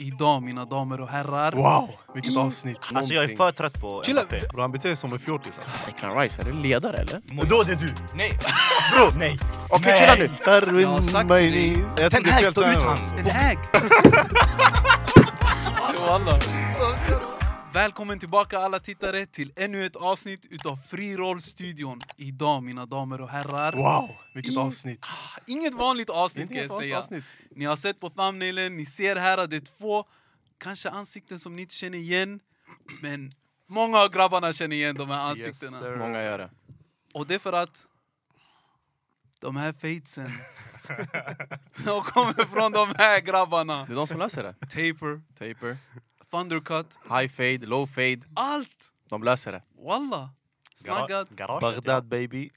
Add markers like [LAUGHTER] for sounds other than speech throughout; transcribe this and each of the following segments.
Idag mina damer och herrar. Wow, vilket avsnitt. Alltså jag är för trött på Chilla. Mbappé. Bro, han beter sig som en fjortis alltså. Declan Rice, är det ledare eller? Då är det du! Nej! Bror! Nej! Okej, Nej. chilla nu! Darwin Jag har sagt Mayonnaise. det. Jag Ten trodde Hag, helt ta ut Oh annan. han! Ten Hag! Wallah. Välkommen tillbaka alla tittare till ännu ett avsnitt utav Frirollstudion. Idag mina damer och herrar. Wow, vilket I- avsnitt. Ah, Inget vanligt avsnitt kan Vilket jag säga. avsnitt. Ni har sett på thumbnailen, ni ser här att det är två kanske ansikten som ni inte känner igen. Men många av grabbarna känner igen de här ansiktena. Yes, sir. Många gör det. Och det är för att de här fatesen de kommer från de här grabbarna. Det är de som löser det. Taper, Taper, Thundercut, high fade, low fade. allt! De löser det. Walla! Snaggat. Garaget ja. Bagdad baby.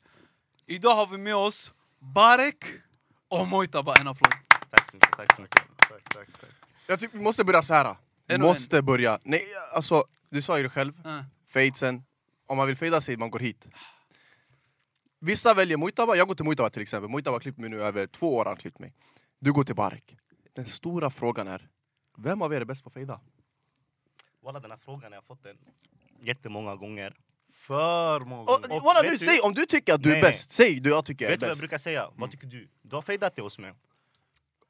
Idag har vi med oss Barek och Mojtaba. En applåd. Tack så mycket, tack så mycket. Tack, tack, tack. Jag tycker vi måste börja så här. Vi En och en. måste börja. Nej, alltså, du sa ju det själv. Ah, Fadesen. Om man vill fada sig, man går hit. Vissa väljer Muitaba. Jag går till Muitaba till exempel. Muitaba har klippt mig nu över två år. har Han klippt mig. Du går till Bark. Den stora frågan är, vem av er är bäst på att fada? Walla den här frågan, jag har fått den jättemånga gånger. För många gånger. Och, Walla, vet nu, du- säg om du tycker att du är Nej. bäst. Säg du, jag tycker jag är Vet du vad jag bäst. brukar säga? Vad tycker du? Du har fejdat det hos mig.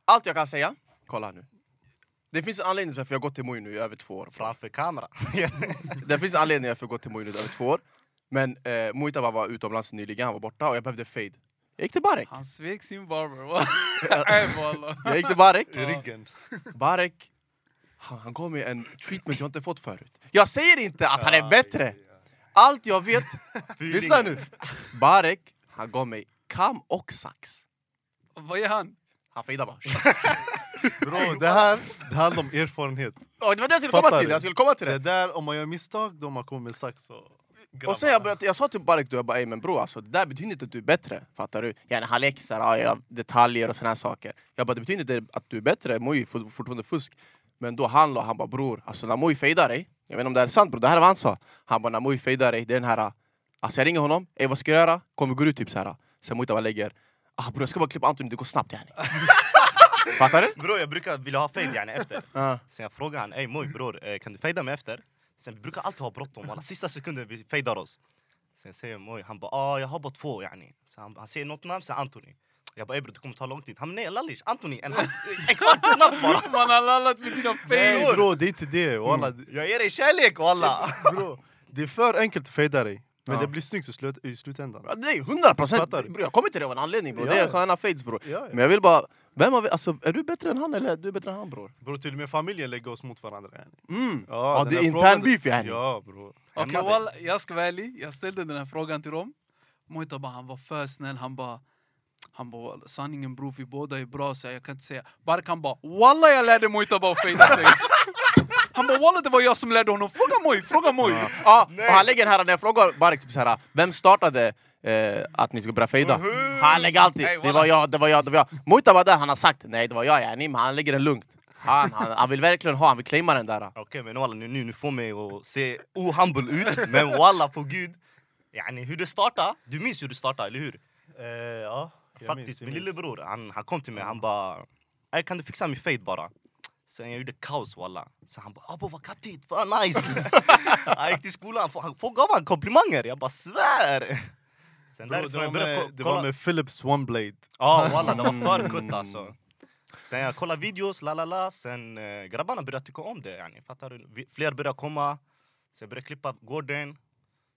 Allt jag kan säga, kolla här nu. Det finns en anledning till varför jag har gått till Mui nu i över två år. Framför kamera. [LAUGHS] Det finns en anledning till varför jag har gått till Mui nu i över två år. Men eh, Muitaba var utomlands nyligen, han var borta och jag behövde fade. Jag gick till Barek. han svek sin barber. [LAUGHS] Nej, walla. Jag gick till Barek. I ryggen. [LAUGHS] Barek, han, han gav mig en treatment jag inte fått förut. Jag säger inte att han är bättre! Allt jag [LAUGHS] vet, lyssna nu. Barek, han gav mig kam och sax. Vad är han? Han fejdade [LAUGHS] bara. Bro, det här det handlar om erfarenhet. Och det var det jag skulle komma Fattar till, du? jag skulle komma till Det det. där, om man gör misstag då man kommer med sax och... Och sen jag, började, jag sa till Barek, då, jag bara, "Ey, men bro, alltså, det där betyder inte att du är bättre. Fattar du? Ja, han leker så här, "Ah, ja, detaljer och såna här saker. Jag bara, det betyder inte att du är bättre, Mui är fort- fortfarande fusk. Men då han la, han bara bror, alltså när Mui fejdar dig, jag vet inte om det här är sant bror, det här är vad han sa. Han bara, när Mui fejdar dig, det är den här, alltså jag ringer honom, ey vad ska jag göra? Kommer gå ut typ så här. Sen Mui bara lägger, ah bror jag ska bara klippa Anthony, det går [LAUGHS] snabbt yani. Fattar du? Bror jag brukar vilja ha fejd yani efter. Ja. Sen jag frågar han, ey moj bror, eh, kan du fejda mig efter? Sen vi brukar alltid ha bråttom, walla sista sekunden vi fejdar oss. Sen säger moj, han bara ah jag har bara två yani. Så han, han säger något namn, sen Anthony. Jag bara ey bror det kommer ta lång tid. Han nej lallish, Anthony en, halv- eh, en kvart snabbt bara. Man har lallat med dina Nej, fejor. [LAUGHS] Nej bro, det är inte det. Walla. Jag ger dig kärlek walla! Bro, det är för enkelt att fejda dig. Men Ja. det blir snyggt i, slut, i slutändan. Ja, Nej, 100 procent! Fattar du? Bror jag kommer till det av en anledning bror, Ja, det är ja. sköna fades bror. Ja, Men ja. jag vill bara, vem av, alltså, är du bättre än han eller är du bättre än han bror? Bro, till och med familjen lägger oss mot varandra. yani. Mm. Ja, Ja, den det är här intern frågan- beef, yani. Ja, bro. Okej, Hemma walla, jag ska vara ärlig. Jag ställde den här frågan till dem. Mojta bara, han var för snäll. Han bara, han bara "Walla, sanningen bror, vi båda är bra. Så jag kan inte säga. Bark han bara, walla jag lärde Mojta bara att fejda [LAUGHS] sig. han bara, walla det var jag som lärde honom. Fråga Moj, fråga Moj. Ja, ah, och han lägger den här, när jag frågar Barek typ såhär, vem startade eh, att ni skulle börja fejda? Han lägger alltid, Hey, det voilà. var jag, det var jag, det var jag. Mojta var där, han har sagt nej det var jag yani, men han lägger den lugnt. Han, han, han vill verkligen ha, han vill claima den där. Okej men walla nu, nu, nu får mig att se ohumble ut, [LAUGHS] men walla på gud. Yani hur det startade, du minns hur det startade eller hur? Eh, ja, jag Faktiskt, minns, jag min minns. lillebror han, han kom till mig, han bara "Ey, Kan du fixa min fade bara? Sen jag gjorde kaos walla Så han bara abo vad kattigt, vad nice! [LAUGHS] han gick till skolan, folk, folk gav han komplimanger, jag bara svär! Sen Bro, det, därifrån var jag började med, ko- det kolla var med Philips OneBlade. Ja walla det var för kutt alltså Sen jag kollade videos, la la la, sen eh, grabbarna började tycka om det yani, fattar du? Vi, fler började komma, sen jag började klippa gården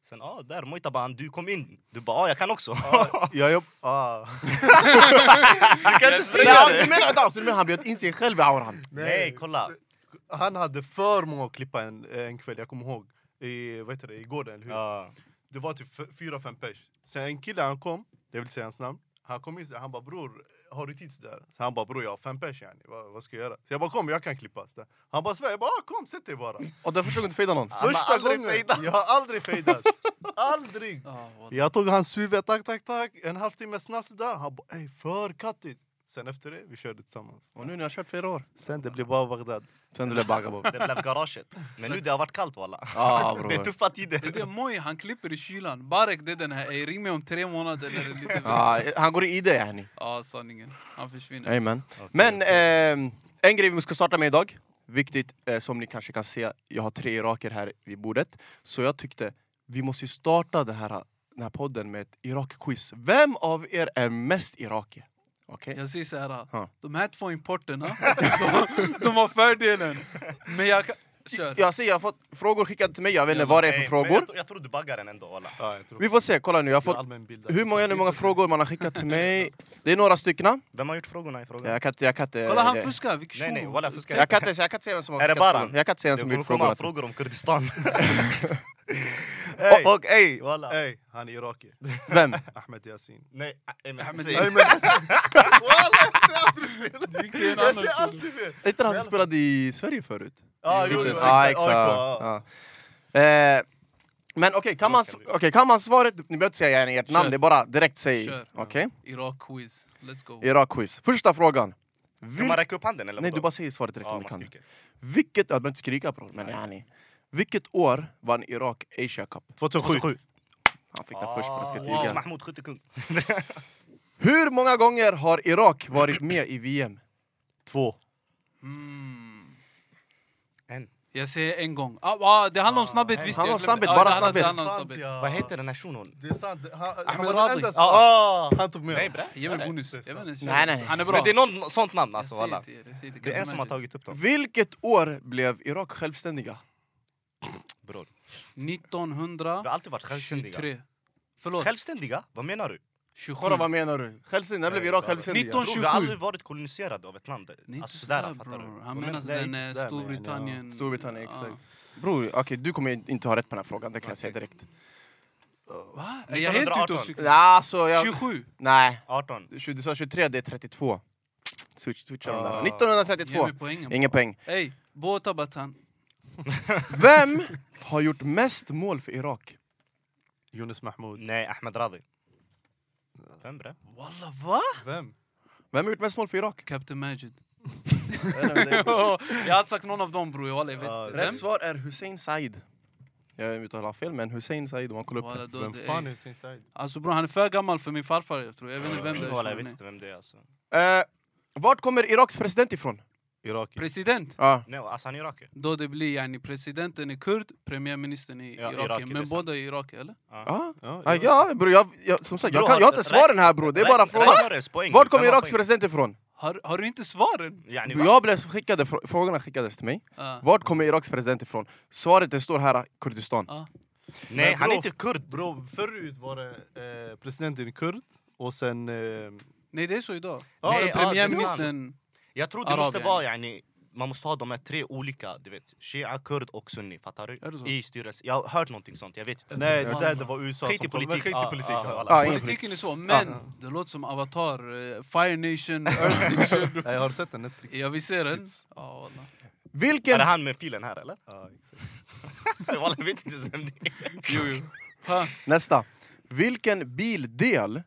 Sen ja, ah, där Mojta bara du kom in, du bara ah, jag kan också Ja, jag, [LAUGHS] ah. [LAUGHS] Du kan inte Nej, säga han- det! du menar, vänta, så du menar han bjöd in sig själv i auran? Nej kolla, Han hade för många att klippa en, en kväll, jag kommer ihåg. I, vad heter det, i gården, eller hur? Ja. Det var typ f- fyra, fem pers. Sen en kille han kom, jag vill inte säga hans namn. Han kom in, så han bara bror, har du tid där? Så han bara bror jag har fem pers yani, vad, vad ska jag göra? Så jag bara kom, jag kan klippa. Så där. Han bara svär, jag bara ah, kom sätt dig bara. Och den första gången du fejdade någon? har Första aldrig gången, fejdat. jag har aldrig fejdat. aldrig! Ja, walla. Jag tog hans huvud, tack tack tack, en halvtimme snabbt sådär. Han bara ey för kattigt. Sen efter det, vi körde tillsammans. Och nu när jag har kört fyra år, Sen det blev bara Bagdad. sen du blev baggad det blev garaget Men nu det har varit kallt [LAUGHS] walla Ja Det är bror. tuffa Det är tider det Moj, han klipper i kylan. Barek, det är den här. "Ey, Ring mig om tre månader. När det är lite... ja. Ja, han går i det yani. sanningen. Han försvinner. eh, Amen. Men ehm, en grej vi ska starta med idag, Viktigt, eh, som ni kanske kan se, jag har tre iraker här vid bordet. Så jag tyckte, vi måste ju starta det här, den här podden med ett Irak-quiz. Vem av er är mest irakier? Okej? Jag säger så här, Ja. de här två importerna, de, de har fördelen. Men jag kan... Kör. Jag ser, jag har fått frågor skickade till mig, jag vet inte Jävlar, vad det är för Nej, men frågor. jag, tr- jag tror du baggar den ändå walla. Ja, jag tror Vi får se, kolla nu. Jag har fått allmänbildad. hur många, hur många frågor man har skickat till mig. Det är några stycken. Vem har gjort frågorna i frågan? Jag kan inte... Jag kan inte Kolla han det- fuskar, vilken Nej nej tjo. walla fuskar jag [LAUGHS] kan inte, jag kan inte se vem som har Är det skickat bara frågorna. Jag kan inte se vem Det som har kommer komma gjort frågorna. frågor om Kurdistan. [LAUGHS] Ey, Och ey walla. ey, han är irakier. Vem? Ahmed Yassin. Nej, äh, men, Ahmed, precis. Nej, [LAUGHS] men Walla, jag ser aldrig fel! Det gick till en Jag annan ser tjo. alltid fel! Är inte han som spelade i Sverige förut? Ja, Lite jo, jo, så. Ja, exakt. exakt. AIK, ja. Ja. Eh, men okej, kan, man, Då kan vi- okej, kan man svaret? Ni behöver inte säga gärna ert namn, Kör. det är bara direkt säg. Kör. Okej? Irak-quiz, let's go. Irak-quiz. Första frågan. Ska Vil- man räcka upp handen eller? Nej, vadå? du bara säger svaret direkt Ja, om ni man kan. det. skriker. Vilket... Jag behöver inte skrika bror, men yani. Vilket år vann Irak Asia Cup? 2007. Han fick det först, men jag ska Ah, tiga. Mahmoud skyttekung. Hur många gånger har [CLEARS THROAT] Irak varit med i VM? Två. Mm. En. Jag säger en gång. Ah, ah, det handlar om snabbhet, visst. handlar jag om glömde. snabbhet, Ja, bara det handlar- snabbhet. Det handlar om Sant, snabbhet. ja. Vad heter den här shunon? Det är sant. Han, han Ahmed var den Radi. enda som- Ah, Han tog med Nej dem. bra. Ge mig Eller? bonus. Det är Jag vet inte, Nej, nej, nej. Han är bra. Men det är någon sånt namn alltså jag säger walla. inte det, jag säger inte. Det är en som har Imagine. tagit upp dem. Vilket år blev Irak självständiga? Bror. Vi 1923. har alltid varit självständiga. Förlåt, Självständiga? Vad menar du? Kolla 27. vad menar du? Självständiga, när blev Nej, Irak bara- självständiga? 19 Bror, vi har 27. aldrig varit koloniserade av ett land. Nej, inte Alltså sådär, sådär, fattar bror. du? Han Men menar nej, den inte eh, sådär, men ja. Storbritannien... Storbritannien, exakt. Ah. Bror, okej, du kommer inte ha rätt på den här frågan, det kan jag säga direkt. Va? Är jag helt ute 1918. och cyklar? Ja, så jag... 27? Nej, 18. du sa 23, det är 32. Switch, switcha de Ah. där. Ge 1932. mig poängen. Ingen poäng. Ey, Bota Batan. Vem har gjort mest mål för Irak? Yunus Mahmoud. Nej, Ahmed Radi. Vem bre? Walla, va? Vem? Vem har gjort mest mål för Irak? Captain [LAUGHS] Majid. jag hade sagt någon av dem bror, walla jag Ja, vet inte. [LAUGHS] Rätt Vem? svar är Hussein Said. Jag uttalar fel, men Hussein Said, om man kollar Walla, upp det. då, Vem? det Fan är... är sin side. Alltså bror, han är för gammal för min farfar jag tror. Jag vet inte vem det Walla, jag vet är. inte vem det är alltså. Eh, vart kommer Iraks president ifrån? Iraki. President? Ja. Nej, alltså han är irakier. Då det blir yani presidenten är kurd, premiärministern är irakier. Ja, irakier, det är Men sant. båda är irakier eller? Ah. Ja, Ah, Irak. ja, bror, jag, jag, som sagt, jag, Bror, kan, jag har har- inte svaren här bror, det är bara frågan. frågan. Vart kommer Iraks president ifrån? Har, har du inte svaren? Yani, va? Jag blev skickade, frå- frågorna skickades till mig. Ah. Vart kommer Iraks president ifrån? Svaret det står här, Kurdistan. Ah. Nej, Men han är bror, inte kurd. Bro, förut var det eh, presidenten kurd och sen... Eh, Nej det är så idag. Ja, Sen ja, det är premiärministern... Alltså, Jag tror det Arab, måste yani. vara yani, man måste ha de här tre olika, du vet, shia, kurd och sunni, fattar du? Är det så? I styrelsen. Jag har hört någonting sånt, jag vet inte. nej, det där det var USA Skit i som tog- men politik. Skit Ah, i politik. ah, ja. walla. Ah, ingen Politiken är så, men det låter som Avatar, eh, Fire Nation, Earth Nation. Nej, har du sett den? Netflix? Ja vi ser den. Ja, wallah. Är Vilken... det han med pilen här eller? Ja, exakt. Walla, [LAUGHS] jag vet inte ens vem det är. Jo, jo. Ha. Nästa. Vilken bildel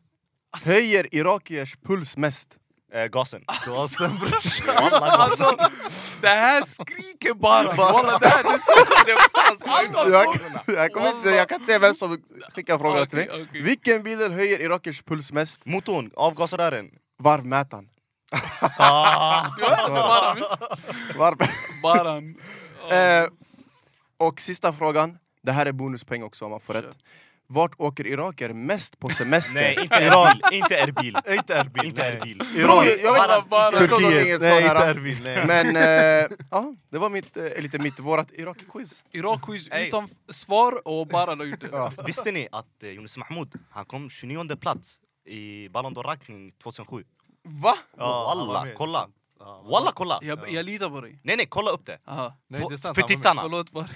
höjer irakiers puls mest? Eh, [LAUGHS] gasen. Gasen, bror. Alltså, det här skriker bara! [LAUGHS] Walla, det här det är så... Det alla Jag, frågor. jag, kommer inte, jag kan inte säga vem som skickar frågan till mig. Okej, okej. Vilken bildel höjer irakiers puls mest? Motorn, avgasrören. Varvmätaren. Ah. Ja, det är bara, visst. Varv... [LAUGHS] Bara. Ja. Eh, och sista frågan. Det här är bonuspoäng också om man får Kör. rätt. Vart åker irakier mest på semester? Nej, inte Erbil. Inte Erbil. Inte Erbil. Eh, [LAUGHS] Inte nej. Erbil. Iran. Jag vet inte- Walla, jag förstår dock Turkiet. inget Nej, svar inte här. Erbil. Nej. Men eh, ja, det var mitt, eh, lite mitt, vårat Irak-quiz. Irak-quiz Ey. utan svar och bara la ut det. Ja. Visste ni att eh, Yunus Mahmoud, han kom 29 plats i Ballon d'Or-rankning 2007? Va? Ja, han var alla, med, kolla. sant. Ja, Walla, kolla! Jag, jag litar på dig. Nej, nej, kolla upp det. Aha. Nej, det är sant, han var För med. tittarna. Förlåt bara.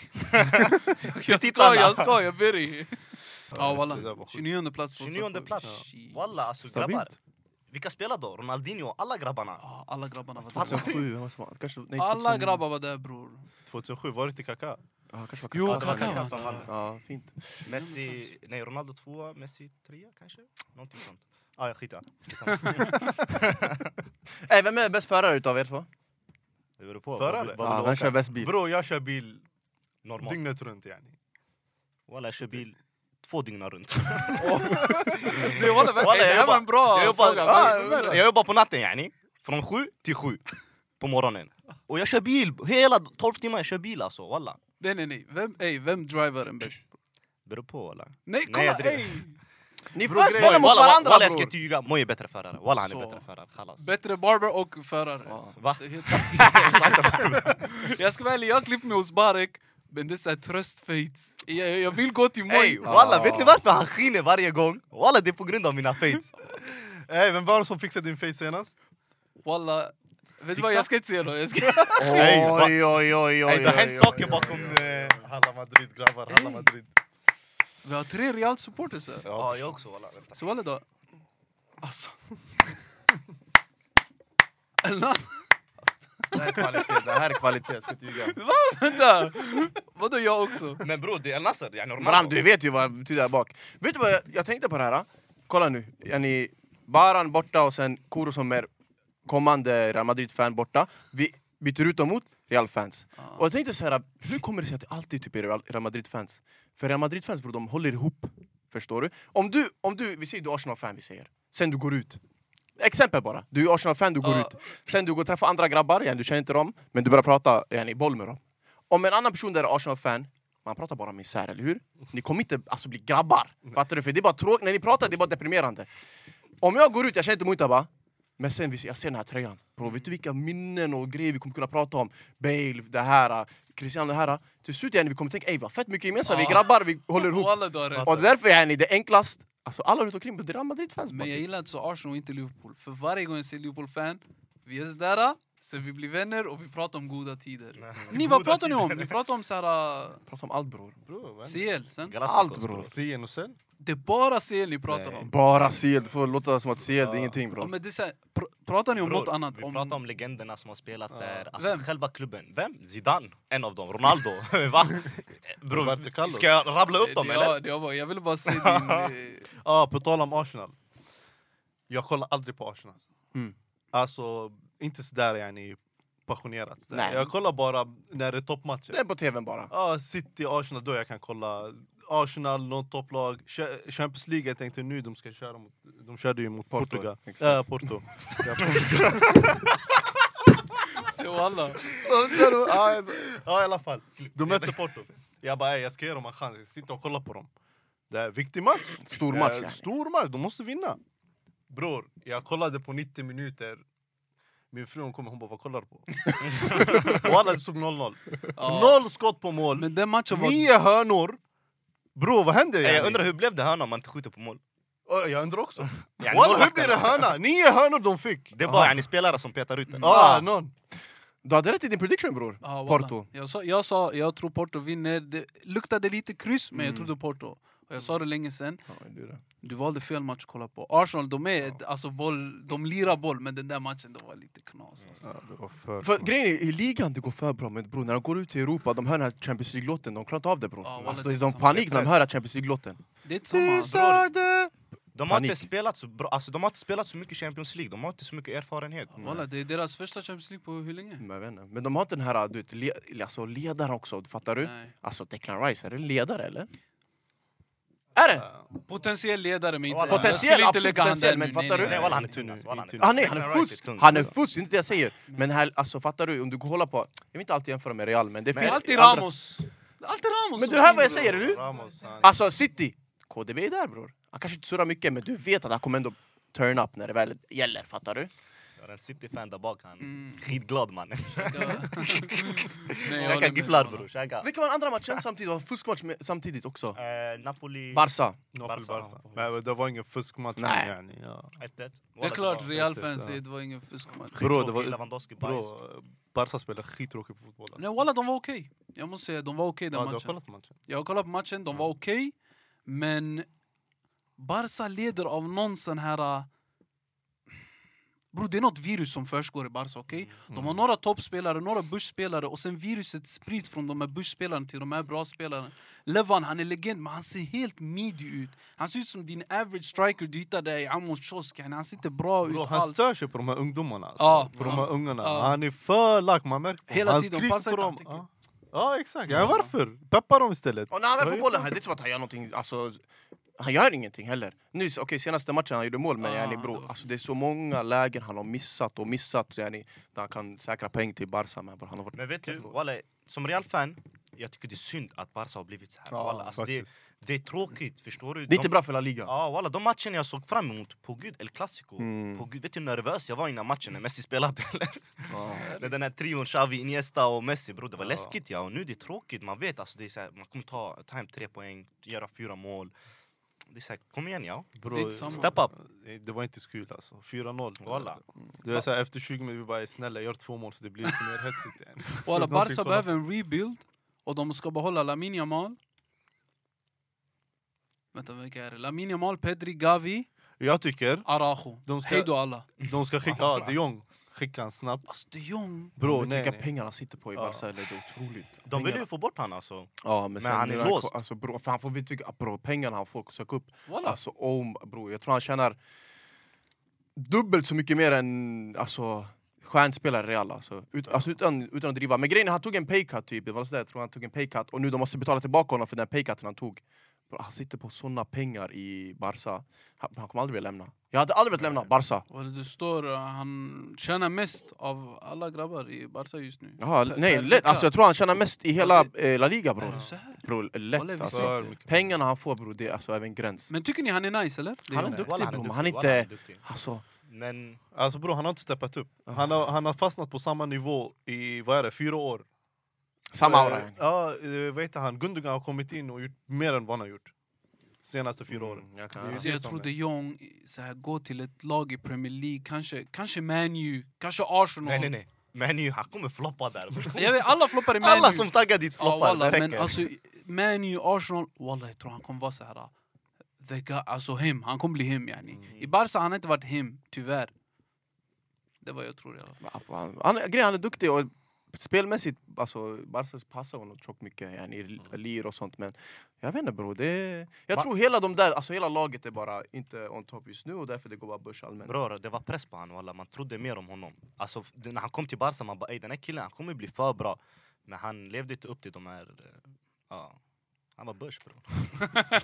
Jag tittarna. ska, jag ska, jag ber dig. Ja, det där walla. var sjukt. 29 plats. 29 plats. Shit. Walla, alltså Stabilt. grabbar. Vilka spelar då? Ronaldinho, alla grabbarna. Ja, Alla grabbarna var där. 2007, vem var som var? Kanske, nej, Alla 2000. grabbar var där bror. 2007, var det inte Kaka? Ja, kanske var Jo, Kaká. det var Kaká Kaká var som där. vann. Ja, fint. Messi, nej Ronaldo tvåa, Messi trea kanske? Någonting sånt. Ah, ja, skit i Äh, vem är bäst förare utav er två? Det beror på. Förare? Vad vill- vad vill Ja, du vem åka? kör bäst bil? Bro, jag kör bil Normalt. dygnet runt yani. Walla, jag kör bil två dygn runt. Nej walla, vänta, Walla, det jag här var en bra [LAUGHS] jag jobbar, fråga. ah, Vad är det? jag jobbar på natten yani. Från sju till sju. på morgonen. Och jag kör bil hela 12 timmar, jag kör bil alltså walla. Nej nej nej, vem, ey, vem driver den bäst? Beror på walla. Nej Nej, kolla jag driver. ey! Ni Bror, får grejen- ställa mot Walla, varandra walla jag ska bror! tyga, Moi är bättre förare. Walla han är Så. bättre förare, kallas. Bättre barber och förare. Va? Det är helt- [LAUGHS] jag ska vara ärlig, jag klippte mig hos Barek, men det är såhär tröstfejts. Jag, jag vill gå till Ey Moi. walla, Ah. vet ni varför han skiner varje gång? Walla det är på grund av mina fates. Ey, vem var det som fixade din face senast? Walla, vet du Fixa. vad, jag ska inte säga något. Jag ska... Ey, va- Oj, oj, oj, Ey, oj, det har hänt oj, saker oj. bakom... eh, Halla Madrid grabbar, Halla Madrid. Vi har tre Real supporters här. Ja, jag också walla. vänta. Så walla då. Alltså. Eller nåt. Det här är kvalitet, det här är kvalitet, jag ska inte ljuga. Vänta! Vadå jag också? Men bror, det är Nasser, jag är Bram, du vet ju vad det betyder här bak. Vet du vad jag, jag tänkte på det här? ah? Kolla nu, är ni Baran borta och sen Kuro som är kommande Real Madrid-fan borta. Vi byter ut dem mot Real-fans. Och jag tänkte så här, hur kommer det sig att det alltid typ är Real Real Madrid-fans? För Real Madrid-fans bror, de håller ihop. Förstår du? Om du, om du vi säger du är Arsenal-fan, vi säger. Sen du går ut. Exempel bara. Du är Arsenal-fan, du går Ja. ut. Sen du går och träffar andra grabbar, ja, du känner inte dem, men du börjar prata yani, boll med dem. Om en annan person där är Arsenal-fan, man pratar bara misär, eller hur? Ni kommer inte alltså, bli grabbar. Fattar du? För det är bara tråkigt. När ni pratar, det är bara deprimerande. Om jag går ut, jag känner inte Muntaba, men sen vis- jag ser den här tröjan. Bro, vet du vilka minnen och grejer vi kommer kunna prata om? Bale, det här, Christian, det här. äh. Till slut yani, vi kommer tänka, ey vi har fett mycket gemensamt, vi är Ja. grabbar, vi håller ihop. Walla du har rätt. Och därför yani, det är enklast, alltså alla runt omkring, det är Real Madrid-fans. bara. Men jag gillar inte så Arsenal och inte Liverpool. För varje gång jag ser Liverpool-fan, vi är sådär, sen vi blir vänner och vi pratar om goda tider. Ni, vad pratar ni om? Ni pratar om såhär... Uh, Prata om allt bror. CL sen? Allt bror. Sien och sen? Det är bara CL ni pratar om. Bara Seal, du får låta som att Seal, det är Ja. ingenting bror. Men det är såhär, pr- pratar ni om något annat? vi pratar om legenderna som har spelat där. Alltså, Vem? Själva klubben. Vem? Zidane? En av dem. [LAUGHS] Ronaldo? [LAUGHS] Va? Roberto Bror, Carlos. ska jag rabbla upp dem eller? Eh, ja, det var, jag ville bara [LAUGHS] se din... eh, Ja, på tal om Arsenal. Jag kollar aldrig på Arsenal. Mm. Alltså, inte sådär yani passionerat. sådär. Nej. Jag kollar bara när det är toppmatcher. Det är på tvn bara. Ja, City, Arsenal, då jag kan kolla. Arsenal, något topplag. Cha- Champions League, jag tänkte nu de ska köra mot... De körde ju mot Porto, Portugal. exakt. Ja, Porto. Ja, se alla. Porto. ja, alltså, ja, i alla fall. De mötte Porto. Jag bara, "Ey, jag ska ge dem en chans. Jag sitter och kollar på dem. Det är en viktig match. Stor match. Eh, yani. Stor match, de måste vinna. Bror, jag kollade på 90 minuter. Min fru hon kom hon bara, vad kollar du på? [LAUGHS] och alla typ det stod 0-0. Ja. Noll skott på mål, Men den matchen var... nio hörnor. Bror, vad händer? Jag yani? undrar hur blev det här när man inte skjuter på mål? Ja, Jag undrar också. Ja, Walla, hur målvakterna. blir det hörna? Nio hörnor de fick! Det är bara yani, spelare som petar ut den. Ja, Ah. någon. Du hade rätt i din prediction bror. Ja, wallah. Porto. Jag sa, jag sa jag tror Porto vinner. Det luktade lite kryss, men jag Mm. trodde Porto. Och jag sa det länge sen. Ja, det är det. Du valde fel match att kolla på. Arsenal, de, är, alltså, boll, de lirar boll, men den där matchen det var lite knas. Mm. Alltså. För grejen är, i ligan det går för bra, men bror när de går ut i Europa, de hör den här Champions League-låten, de klarar inte av det bror. Ja, wallah, alltså, det är de sant. panik när de hör den här Champions League-låten. Det är inte samma. De har, Panik. inte spelat så bra. Alltså, de har inte spelat så mycket Champions League, de har inte så mycket erfarenhet. Mm. Walla, det är deras första Champions League på hur länge? Men jag vet inte. Men de har inte den här du vet, le- alltså, ledaren också, fattar du? Nej. Alltså Declan Rice, är det en ledare eller? Är det? Potentiell ledare, men inte... Walla. jag skulle Potentiell, inte absolut lägga handen potentiell, nu. men fattar du? Nej walla, han är inte tunn. nu, alltså, walla, inte han Ah, är nej, tunn. han Declan är Rice fusk! tung, Han är alltså. fusk, det är inte det jag säger. Mm. Men här, alltså, fattar du? Om du kollar på... Jag vill inte alltid jämföra med Real, men det Men finns... alltid andra- Ramos. Alltid Ramos. Men som du hör vad jag springer. säger, eller hur? Ramos, han- Alltså City! KDB är där bror. Han kanske inte surrar mycket, men du vet att han kommer ändå turn up när det väl gäller, fattar du? Jag har en City-fan där bak, han Mm. skitglad mannen. [LAUGHS] Ja. Nej, jag Käka håller med. gifflar bror, käka. Vilka var den andra matchen samtidigt? Det var fuskmatch med, samtidigt också. Eh, Napoli... Barca. Napoli, Barca. Barca. Men det var ingen fuskmatch. Nej. yani, ja. 1-1. Det är klart Real-fans Ja. säger det var ingen fuskmatch. Bro, Bro, det det var- Lewandowski bajs. Bro, Barca spelar skittråkig fotboll. alltså. Nej walla, de var okej. Jag måste säga, de var okej Ja, den du har matchen. kollat matchen? Jag har kollat på matchen, de var okej. men Barca leder av någon sån här... äh, Bro, det är något virus som försiggår i Barca, okej? De har några toppspelare, några börsspelare och sen viruset sprids från de här börsspelarna till de här bra spelarna. Levan, han är legend, men han ser helt midi ut. Han ser ut som din average striker du hittade i Amos kiosk. yani. Han ser inte bra Bro, ut han alls. stör sig på de här ungdomarna. Alltså. Ja. på de här ungarna. Ja. Han är för lack, man märker på Hela honom. Han tiden, skriker passar på inte, dem. han tycker. Ja, ja exakt. Ja, varför? Peppa dem istället. Och när han väl Vad får är bollen, här, det är inte som att han gör någonting... Alltså, Han gör ingenting heller. Nyss, okej senaste matchen han gjorde mål, men Ah, yani det bro, var- alltså, det är så många lägen han har missat och missat yani, där han kan säkra poäng till Barca. Men bror, han har varit... Men vet du, walla, som Real-fan, jag tycker det är synd att Barca har blivit så här. walla, alltså, det, faktiskt. det är tråkigt, förstår du? Det är De- inte Ah. bra för La Liga. Ja, walla, de matcherna jag såg fram emot, på gud, El Clasico. Mm. På gud, vet du hur nervös jag var innan matchen när Messi spelade? [LAUGHS] eller? Ja. när den här trion, Xavi, Iniesta och Messi, bro, det var Ja. läskigt ja. Och nu det är tråkigt, man vet alltså, det är så här, man kommer ta, ta hem tre poäng, göra fyra mål. Det är så här, kom igen ja. Bro, Det är inte samma. Step up. eh, Det var inte så kul alltså. 4-0. Walla. Det är så här, efter 20 minuter, vi bara snälla gör två mål så det blir lite mer [LAUGHS] hetsigt. igen." Så Walla, någonting Barca kolla behöver en rebuild och de ska behålla Lamine Yamal. Vänta, vilka är det? Lamine Yamal, Pedri, Gavi, på. Jag tycker Araujo. de ska, Hej då alla. de ska skicka... Ja, de Jong. Skicka han snabbt. Alltså de Jong. Bro, nej, vilka nej. pengar han sitter på i Ja. Barca, eller det är otroligt. De vill Pengarna- ju få bort han alltså. Ja, men, sen han är nu när låst. kom- Alltså, bro, för han får vi tycka, bro, pengarna han får söka upp. Walla. Alltså, oh, bro, jag tror han tjänar dubbelt så mycket mer än alltså, stjärnspelare i Real. Alltså. Ut, alltså, utan, utan att driva. Men grejen är han tog en paycut, typ. Det var så där, jag tror han tog en paycut. Och nu de måste betala tillbaka honom för den paycuten han tog. Bro, han sitter på såna pengar i Barca. Han, han kommer aldrig vilja lämna. Jag hade aldrig velat lämna Barca. Walla, det står uh, han tjänar mest av alla grabbar i Barca just nu. Jaha, Per- nej, per lätt. vecka. Alltså, jag tror han tjänar mest i hela eh, La Liga, Är bror. det så här? Bro, Walla, lätt vi alltså. ser För inte. mycket. Pengarna han får, bror, det är alltså över en gräns. Men tycker ni han är nice eller? Det Han är gör duktig, Walla, bror, men han är walla, inte- duktig. Alltså, Men Alltså bror, han har inte steppat upp. Han har, han har fastnat på samma nivå i, vad är det, fyra år. samma Eh, aura. Ja, eh, vad heter han? Gundogan har kommit in och gjort mer än vad han har gjort. Senaste fyra åren. Mm, jag Det är ju kan... Så Alltså, jag som tror är. de Jong så här, går till ett lag i Premier League, kanske, kanske Man U, kanske Arsenal. nej nej nej. Men nu, han kommer floppa där. bror. Jag vet, alla floppar i Man Alla U. som taggar dit ja, floppar, walla, det men räcker. alltså, Man U, Arsenal, walla jag tror han kommer vara så här. ah, The guy, alltså him, han kommer bli him yani. I Barca han har inte varit him, tyvärr. Det var jag tror i alla fall. Han, han, grejen, han är duktig och spelmässigt, alltså Barca passar honom tråk mycket, yani, i Mm. lir och sånt men jag vet inte bror, det är, Jag Ma- tror hela de där, alltså hela laget är bara inte on top just nu och därför det går bara börs allmänt. Bror, det var press på honom walla, man trodde mer om honom. Alltså, f- när han kom till Barca, man bara "Ey, den här killen han kommer bli för bra. Men han levde inte upp till de här... eh, Ja, han var börs [LAUGHS] bror.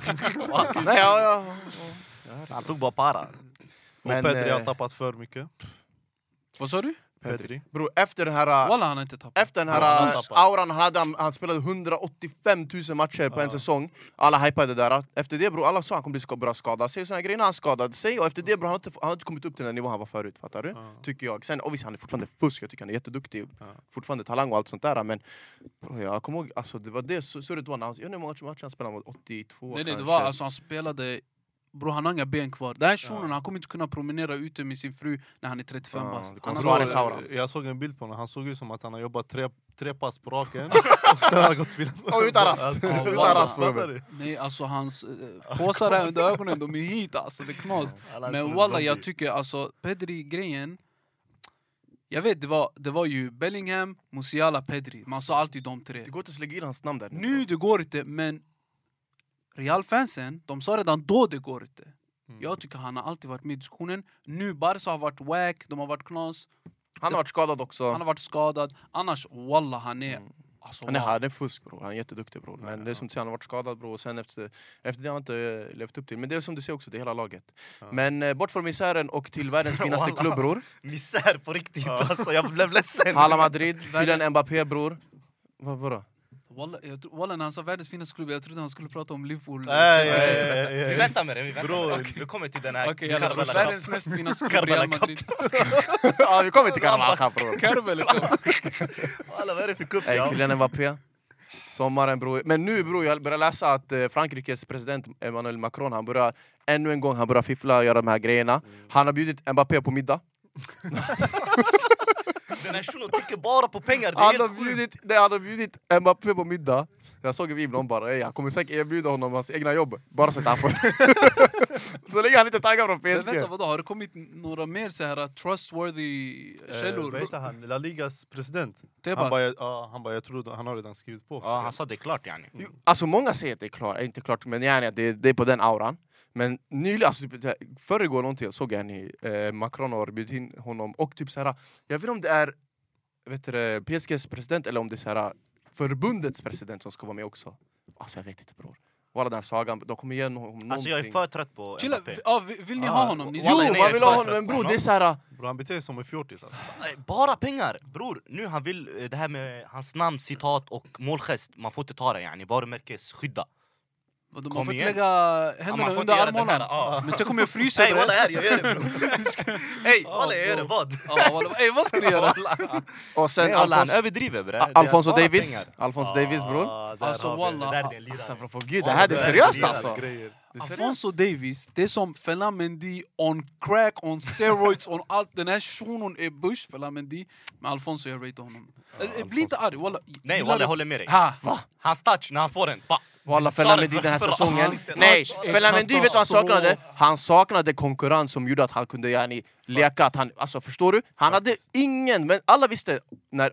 Nej, ja, ja, ja. han tog bara para. Och Men, Pedri har eh, tappat för mycket. Vad sa du? Pedri. Bror, efter den här, Walla han har inte tappat. efter den Bro, han här eh, tappar. auran han hade, han, han spelade 185 000 matcher på en Ja. säsong. Alla hypade det där. Efter det bror, alla sa han kommer bli ska- bra skadad sig och såna här grejer. Han skadade sig och efter Mm. det bror, han har inte, han har inte kommit upp till den nivå han var förut. Fattar du? Ja. Tycker jag. Sen, och visst, han är fortfarande fusk, jag tycker han är jätteduktig. Ja. Fortfarande talang och allt sånt där. Men bro, jag kommer ihåg, alltså, det var det sur- surret var när han, jag vet inte hur många matcher han spelade, mot Nej, 82 nej, det kanske. var alltså han spelade... Bror han har inga ben kvar. Den här shunon Ja. han kommer inte kunna promenera ute med sin fru när han är 35 Ja, bast. det Han kommer har bra så- Bror, det Sauron. eh, jag såg en bild på honom, han såg ut som att han har jobbat tre, tre pass på [LAUGHS] raken. och sen har han gått och spelat. Och utan rast! Ja, utan walla. rast Fattar bror. du? Nej alltså hans eh, påsar här under ögonen, de är hit alltså, det är knas. Alla som Men en walla jag zombie. tycker alltså, Pedri-grejen Jag vet det var, det var ju Bellingham, Musiala, Pedri, man sa alltid de tre Det går inte att lägga in hans namn där. Nu det går inte men Real-fansen, de sa redan då det går inte Mm. Jag tycker han har alltid varit med i diskussionen Nu Barca har varit wack, de har varit knas, Han har varit skadad också. han har varit skadad Annars walla han är... Mm. Alltså, Han är, wow. han är fusk bror, han är jätteduktig bror. Men Nej, det är ja. som du säger, han har varit skadad bror och sen efter, efter det har han inte eh, levt upp till. Men det är som du säger också, det är hela laget. Ja. Men eh, bort från misären och till [LAUGHS] världens finaste Wallah. klubb bror. Misär på riktigt alltså, jag blev ledsen. Hala Madrid, Kylian Mbappé bror. [LAUGHS] Vad, vadå? Walla, jag tro, walla när han sa världens finaste klubb, jag trodde han skulle prata om Liverpool Nej, Chelsea. nej, nej, nej, Vi nej. väntar med det, vi väntar Bror. med det. Vi kommer till den här Okej, jalla, Karbala världens Cup. näst finaste klubb, Karbala Real Cup. Madrid ja, vi kommer till Karamalcha bror. Karbala [LAUGHS] Cup. Walla, vad är det för cup? Hey, ja? Kylian Mbappé. Sommaren bror. Men nu bror, jag börjar läsa att eh, Frankrikes president Emmanuel Macron, han börjar ännu en gång han börjar fiffla och göra de här grejerna. Mm. Han har bjudit Mbappé på middag. Den här shunon tänker bara på pengar, det är Han har, helt sjukt. bjudit, nej, han har bjudit Mbappé på middag. Jag såg en ibland bara, "Ey, han kommer säkert erbjuda honom hans egna jobb. Bara så att han får... [LAUGHS] så länge han inte taggar från Men vänta PSG. vadå, har det kommit några mer så här uh, trustworthy uh, Eh, Vad källor? heter han? La Ligas president. Han Tebas? bara, ja, han bara, jag tror han har redan skrivit på. Ja, han sa det är klart yani. Jo, Alltså många säger att det är klart, inte klart, men yani, att det, det är på den auran. Men nyligen, alltså typ, så här, förrgår någonting, jag såg jag ni, eh, Macron har bjudit in honom och typ så här, jag vet inte om det är vet du, det, PSGs president eller om det är så här, förbundets president som ska vara med också. Alltså jag vet inte bror. Walla den här sagan, de kommer igen om någonting. Alltså jag är för trött på Chilla, Mbappé. vi- ja, vi- vill ni Ah, ha honom? Ni Jo, Walla, nej, man jag vill är ha för honom, trött men på bror honom. det är såhär... Bror han beter sig som en fjortis alltså. Nej, Bara pengar! Bror, nu han vill eh, det här med hans namn, citat och målgest. Man får inte ta det yani, varumärkesskydda. De har Kom fått igen. lägga Ja, händerna under får inte göra den här, armarna. ja. Men jag kommer [LAUGHS] jag frysa Ey bre. walla, här, jag gör det bror! Ey walla, jag gör det, vad? Ja, walla, ey, vad ska ni göra? Walla. Och Nej sen walla, han Alfonso, överdriver bre. Al- Alfonso Davis, Alfonso Davis Ah. bror. Alltså, walla, Alltså bro, för gud, det här det är seriöst alltså! Det är seriöst. Alfonso Davis, det är som Fela Mendy on crack, on steroids, on allt. Den här shunon är Bush, Fela Mendy. Men Alfonso, jag ratear honom. Eh, Bli inte arg, walla. Nej Gillar walla, du- jag håller med dig. Ha! Hans touch när han får den, ba! Walla Du sa Fela det Mendy den här förra säsongen... avsnittet. Nej! Touch Fela är Mendy vet du vad han katastrof. saknade? Han saknade konkurrens som gjorde att han kunde yani, leka att han... Alltså förstår du? Han hade ingen... Men alla visste när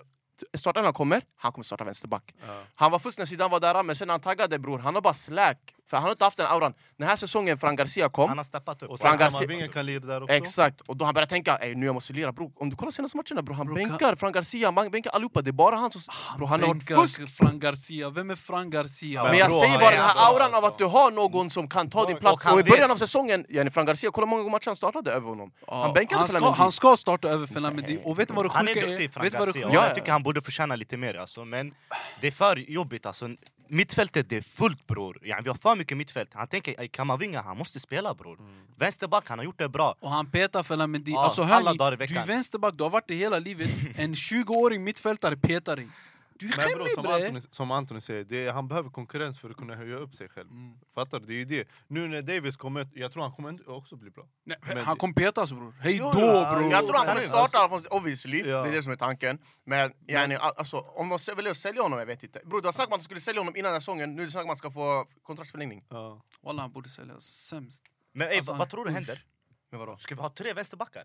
startelvan kommer, han kommer starta vänsterback. Han var först när Zidane var där, men sen när han taggade bror, han har bara slack. För han har inte haft den auran. Den här säsongen, Fran Garcia kom, Han har steppat upp. Och sen sen Frank Garcia- Kammarvingen kan lira där också. Exakt, och då han började tänka "Ey, nu jag måste lira bror. Om du kollar senaste matcherna bror, han Bror, kan- bänkar Fran Garcia, han bänkar allihopa, det är bara han som... Bror han har varit Bänkar fusk! Fran Garcia, vem är Fran Garcia? Men jag bror, säger han bara är den här alltså- auran av att du har någon som kan ta din Och plats. han Och i början vet. av säsongen, Jenny Fran Garcia, kolla hur många matcher han startade över honom. Ja, Han bänkade han, Fela ska, Mendy. han ska starta över Fela Mendy, och vet du vad det Han är sjuka duktig är? Frank Vet du vad det Garcia, och sjuka Ja, jag ja. tycker han borde förtjäna lite mer alltså. Men det är för jobbigt alltså. Mittfältet det är fullt bror. Ja, vi har för mycket mittfält. Han tänker, "Ey, Kamavinga han måste spela bror. Vänsterback, han har gjort det bra. Och han petar Fela Mendy. Ja, alltså alla hör dagar i ni, du är veckan. vänsterback, du har varit det hela livet. En 20-åring mittfältare petar dig. Du är Men bror, skämmig som bre! Anthony, som Anthony säger, det är, han behöver konkurrens för att kunna höja upp sig själv. Mm. Fattar du? Det är ju det. Nu när Davis kommer, jag tror han kommer inte- också bli bra. Nej, Men- Han kommer petas bror. Hej Jo, då jo, bror! Jag tror han kommer Alltså- starta Alfonso, obviously. Ja. Det är det som är tanken. Men yani, al- alltså, om de sä- väljer att sälja honom, jag vet inte. Bror, det var snack om att de skulle sälja honom innan den här säsongen. Nu är det snack om att han ska få kontraktsförlängning. Ja. Walla han borde säljas, sämst. Men ey, Alltså, vad- han- vad tror du händer? Men vadå? Ska vi ha tre vänsterbackar?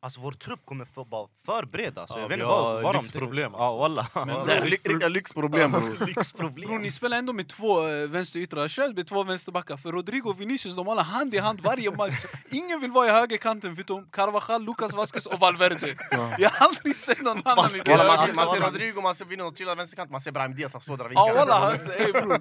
Alltså vår trupp kommer för, vara för bred alltså. Ja, jag vi vet inte har vad, vad de... lyxproblem, Ja alltså. walla. Men- Det är ly- riktiga lyxproblem [LAUGHS] [LAUGHS] bror. lyxproblem. Bror ni spelar ändå med två eh, vänsteryttrar, kör med två vänsterbackar. För Rodrigo och Vinicius de håller hand i hand varje match. Ingen vill vara i högerkanten förutom Carvajal, Lucas Vasquez och Valverde. Jag har aldrig sett någon annan i det Walla, man här. ser- Man ser Rodrigo, man ser Vino trilla vänsterkant, man ser Brahim Diaz, han står där och Ja vinkar. walla, han säger "Ey, bror.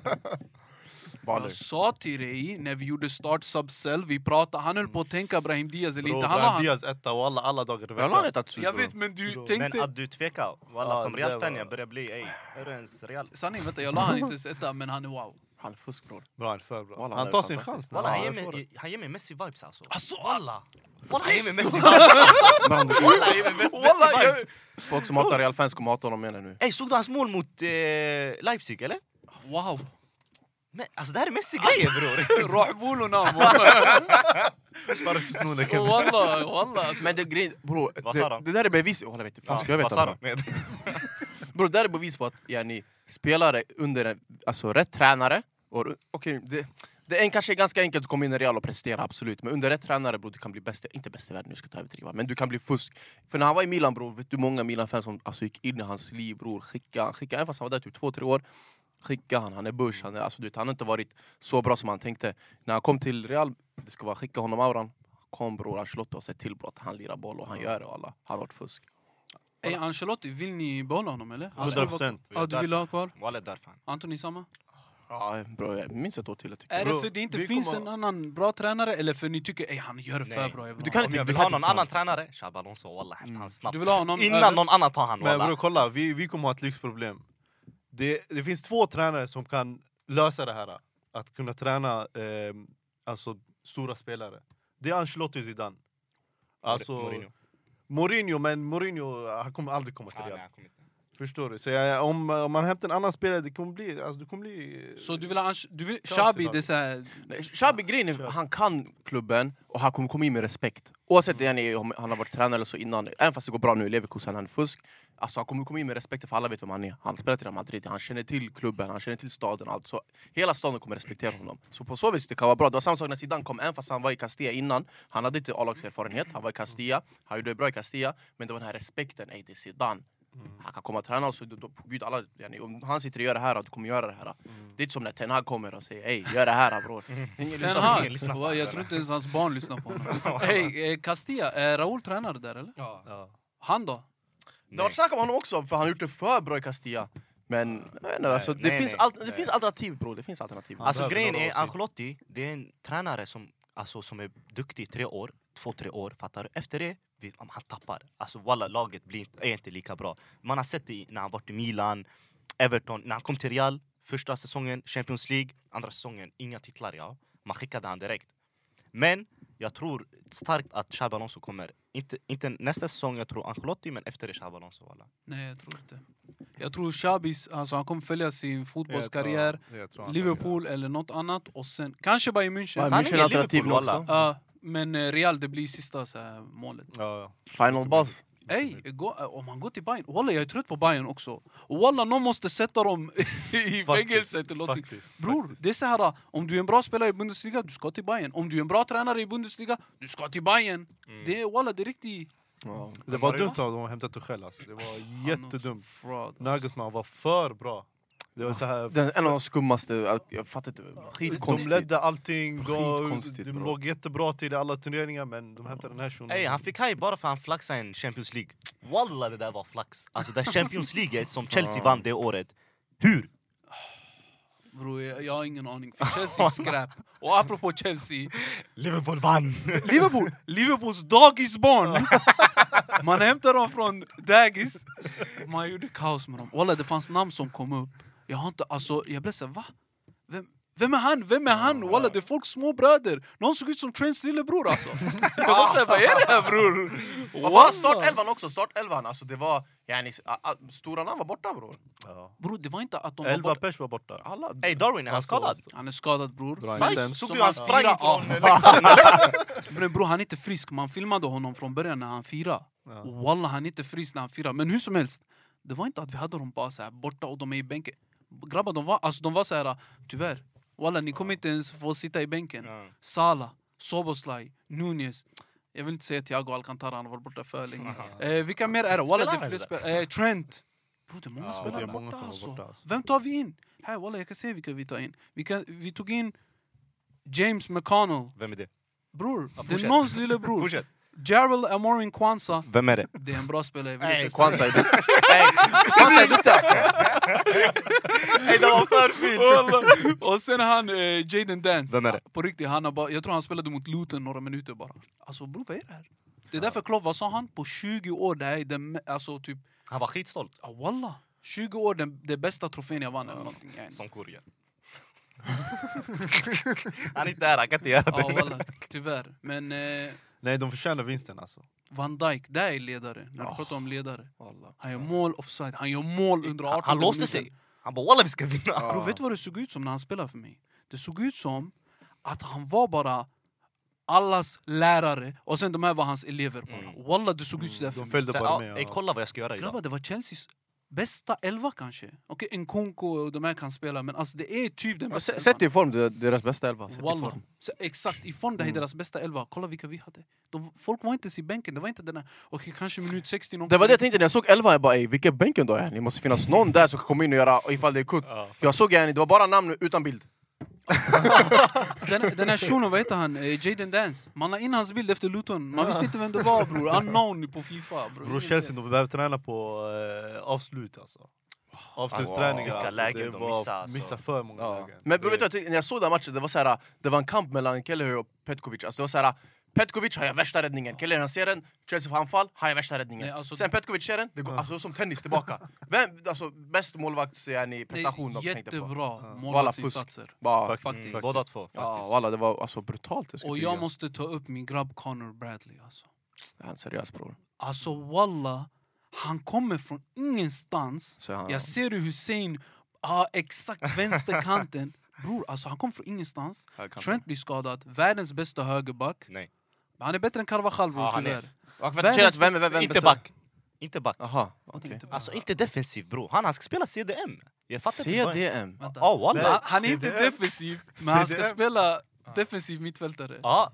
Baller. Jag sa till dig när vi gjorde start sub cell, vi pratade, han höll på att tänka Brahim Diaz eller Bror, inte. Han la Brahim han. Diaz etta och alla, alla dagar i Jag la veckan. inte att Jag vet men du Men tänkte... att du tvekar. Walla Ja, som det var- Real-fan jag börjar bli, ey. Är du ens Real? Sanningen vänta, jag la han inte ens etta men han är wow. Han är fusk bror. Bra, han är för bra. Walla, han Han är tar sin fantastisk. chans. nu. Walla han Ja, ger jag får det. mig- han ger mig Messi-vibes alltså. Alltså, Walla! Walla han ger mig [LAUGHS] Messi-vibes! Walla, jag vet- Walla, jag, Folk som hatar Real-fans kommer hata honom mer nu. Ey, såg du hans mål mot eh, Leipzig eller? wow! Men, alltså det här är Messi-grejer [LAUGHS] bror! [LAUGHS] Rahbuluna wallah! Bara till snonen kan vi- Wallah, wallah! Men det, grejen, bro, Vad sa det, de? det där är bevis... Walla, jag vet inte. Fan, ska jag Alltså- vad veta? sa bror? de? Men- Bro, det där är bevis på att yani, spelare under en, alltså, rätt tränare... Och, okay, det, det är kanske är ganska enkelt att komma in i Real och prestera, absolut. Men under rätt tränare, bro, du kan bli bäst... i- Inte bäst i världen, nu ska jag ta överdriva. Men du kan bli fusk. För när han var i Milan, bro, vet du hur många Milan-fans som alltså, gick in i hans liv, bror. Skicka, skicka, även fast han var där typ två, tre år. Skicka han, han är börs. Han, är, alltså, du vet, han har inte varit så bra som han tänkte. När han kom till Real, det ska vara skicka honom auran. Kom bror, Ancelotti har sett till bror att han lirar boll och han gör det och alla. Han har varit fusk. Ey Ancelotti, vill ni behålla honom eller? Han skulle 100 vara- procent. Ja, du vill ha kvar? Walla där fan. Antoni samma? Ja, bro, jag minns ett år till jag tycker. Är det Bro, för det inte vi finns kommer- en annan bra tränare eller för ni tycker ey han gör det för Nej. bra? jag vill Du ha kan honom. Mm. Om jag du vill kan ha inte någon ta honom. annan tränare, Xabi Alonso walla, hämta han snabbt. Du vill ha honom över- Innan någon annan tar han Men walla. bror kolla, vi, vi kommer ha ett lyxproblem. Det, det finns två tränare som kan lösa det här. Att kunna träna eh, alltså, stora spelare. Det är Ancelotti och Zidane. Alltså, Mourinho. Mourinho. men Mourinho han kommer aldrig komma till Ah, nej, Real. han kommer inte. Förstår du? Så jag, om, om man hämtar en annan spelare, det kommer bli... Alltså, det kommer bli Så du vill ha Anche- du vill, Chelsea Xabi, då. det är såhär... Nej, Xabi grejen är, han kan klubben och han kommer komma in med respekt. Oavsett mm. om han har varit tränare eller så innan, även fast det går bra nu i Leverkusen, han är fusk. Alltså han kommer komma in med respekt för alla vet vem han är. Han spelar till Real Madrid, han känner till klubben, han känner till staden och allt. Så hela staden kommer respektera honom. Så på så vis det kan vara bra. Det var samma sak när Zidane kom, även fast han var i Castilla innan. Han hade inte A-lagserfarenhet, han var i Castilla, han gjorde det bra i Castilla. Men det var den här respekten, ey det är Zidane. Han kan komma och träna oss, och då- då- gud alla, yani, om han sitter och gör det här, du kommer göra det här. Mm. Det är inte som när Ten Hag kommer och säger ey, gör det här bror. Ingen Ten lyssnar. Hag! lyssnar på Wow, Jag honom. tror inte ens hans barn lyssnar på [LAUGHS] honom. Ey, eh, Castilla, är Raúl tränare där eller? Ja. Han då? Det har varit snack om honom också, för han har gjort det för bra i Castilla. Men jag vet inte, alltså, Nej, det, nej, finns nej, alt- det nej. finns alternativ bror, det finns alternativ. Han Alltså behöver grejen några är, år till. Ancelotti, det är en tränare som, alltså, som är duktig i tre år, två, tre år, fattar du? Efter det, vi, han tappar. Alltså walla, laget blir, inte- är inte lika bra. Man har sett det i- när han varit i Milan, Everton, när han kom till Real, första säsongen Champions League, andra säsongen inga titlar ja. Man skickade han direkt. Men jag tror starkt att Xabi Alonso kommer, inte, inte nästa säsong jag tror Ancelotti, men efter det Xabi Alonso walla. Nej, jag tror inte. Jag tror Shabis, alltså han kommer följa sin fotbollskarriär, Jag tror han kan Liverpool eller något annat och sen kanske Bayern München. Sen- Bayern Sanningen München är alternativ nu Liverpool, också. Ja, men eh, Real, det blir sista så här, målet. göra. Ja, ja. Final boss. Ey, Typ. gå, eh, om man går till Bayern, walla jag är trött på Bayern också. Och Walla, någon måste sätta dem [LAUGHS] i fängelse eller någonting. Faktiskt. Bror, det är så här, om du är en bra spelare i Bundesliga, du ska till Bayern. Om du är en bra tränare i Bundesliga, du ska till Bayern. Mm. Det är walla, det är riktigt... Ja. Det var Sorry. dumt av dem att hämta Tuchel alltså. Det var Han också jättedumt. Fraud. Nagelsmann var för bra. Det var så här... Den, en av de skummaste, jag fattar inte. De Skitkonstigt. ledde allting, de, Skitkonstigt, de bro. låg jättebra till i alla turneringar men de hämtade den här shunon. Ey, han fick haj bara för han flaxade en Champions League. Walla det där var flax. Alltså det Champions League [LAUGHS] som Chelsea vann det året. Hur? Bror, jag, jag har ingen aning. [LAUGHS] För Chelsea är skräp. Och apropå Chelsea, Liverpool vann! Liverpool! Liverpools dagisbarn! [LAUGHS] Man hämtade dem från dagis. Man gjorde kaos med dem. Walla, det fanns namn som kom upp. Jag har inte, alltså, jag blev såhär, va? Vem, vem är han? Vem är han? Walla, det är folks småbröder. Någon såg ut som Trents lillebror alltså. Jag var såhär, vad är det här bror? Wow. Walla! Startelvan också, startelvan. Alltså det var, yani, s- a- a- stora namn var borta bror. Ja. Bror, det var inte att de var Elva borta. pers var borta. Alla. Ey Darwin, är han skadad? Han är skadad bror. Bra Som- insats. som Såg du han sprang firar- ja. från läktaren? Men [LAUGHS] bror han är inte frisk, man filmade honom från början när han firade. Ja. Och Walla han är inte frisk när han firar. Men hur som helst, det var inte att vi hade dem bara så här borta och de är i bänken. Grabbar de var, alltså de var så här, tyvärr. Walla ni kommer inte ens få sitta i bänken. Sala, Soboslaj, Nunez. Jag vill inte säga Thiago Alcantara, han har varit borta för länge. Eh, vilka mer är det? Walla det Spelar är fler ens där? spelare. Eh, Trent. Bror det är många Ja, spelare det är borta, många som var alltså. borta, alltså. Vem tar vi in? Här walla jag kan säga vilka vi tar in. Vi, kan, vi tog in James McConnell. Vem är det? Bror, det är fortsätt. någons lillebror. Fortsätt. Gerald Amorin Kwanza. Vem [LAUGHS] är det? Det är en bra spelare. jag vill Nej, inte Kwanza är duktig. [LAUGHS] Nej, Kwanza är duktig alltså. [LAUGHS] Ey det var för säga. fint! Wallah. Och sen han, eh, Jaden Dance. Vem är det? På riktigt, han har bara, jag tror han spelade mot Luton några minuter bara. Alltså bror, vad är det här? Det är därför Klopp, vad sa han? På 20 år, det här är den, me- alltså typ, Han var skitstolt. ah, wallah. 20 år, den, det bästa trofén jag vann eller någonting. yani. Som kurjan. [LAUGHS] Han är inte här, han kan inte göra Ja, det. wallah. Tyvärr. Men eh, Nej, de förtjänar vinsten alltså. Van Dijk, där är ledare. När du pratar om ledare. Han gör mål offside, han gör mål under 18 Han, han låste minuter. sig. Han bara walla vi ska vinna. Bro, vet du vad det såg ut som när han spelade för mig? Det såg ut som att han var bara allas lärare och sen de här var hans elever bara. Mm. Walla, det såg ut sådär för De mig. följde Så, bara ja, med. ey kolla vad jag ska göra idag. Grabbar, det var Chelseas bästa elva kanske. Okej, Nkunku och de här kan spela, men alltså det är typ den bästa Sätt dig i form, det är deras bästa elva. Sätt dig i Walla. form. Mm. Så, exakt, i form det här är deras bästa elva. Kolla vilka vi hade. De, folk var inte ens i bänken, det var inte den här... Okej, kanske minut 60 någon Det var det jag tänkte när jag såg elvan, jag bara ey, vilka bänken då är? Det måste finnas någon där som kan komma in och göra ifall det är kutt. Ja. Jag såg yani, det var bara namn utan bild. Den, den här shunon, vad heter han? Eh, Jaden Dance. Man la in hans bild efter Luton. Man visste inte vem det var bror. Unknown på Fifa. Bror, Bror Chelsea, de behöver träna på eh, avslut alltså. Avslutsträningar Vilka alltså. lägen det de var, missar, alltså. missar för många lägen. Men bror, Det- vet du, vad jag tyckte? när jag såg den här matchen, det var, så här, det var en kamp mellan Kelleher och Petkovic. Alltså, det var så här, Petkovic har jag värsta räddningen, Kelleher han ser den, Chelsea får anfall, har jag värsta räddningen. Nej, alltså- Sen Petkovic ser den, det går alltså, som [LAUGHS] tennis tillbaka. Vem, alltså, bäst målvakts yani, Det är prestation de tänkte på. Jättebra Walla, fusk. målvaktsinsatser. Bara, Faktiskt. Faktiskt. Mm, Båda två. ja, faktiskt. walla, det var alltså, brutalt. Jag skulle Och jag tycka. måste ta upp min grabb Connor Bradley. Alltså, Han är seriös bror. alltså walla, han kommer från ingenstans. Så han, Jag ser hur Hussein har exakt vänsterkanten. Bror, alltså han kom från ingenstans. han kan- Trent blir skadad. Världens bästa högerback. Nej. Han är bättre än Carvajal bror, Ja, han är- tyvärr. Jag vet inte, Chelsea, vem, vem, vem, vem Inte bästa- back. Inte back. Jaha, Jag okej. tänkte typ- bara- Alltså inte defensiv bro, han, han ska spela CDM. Jag fattar inte vad- CDM. Vänta. Ja walla. Han, han är inte CDM. defensiv, men han ska CDM. spela defensiv mittfältare. Ja,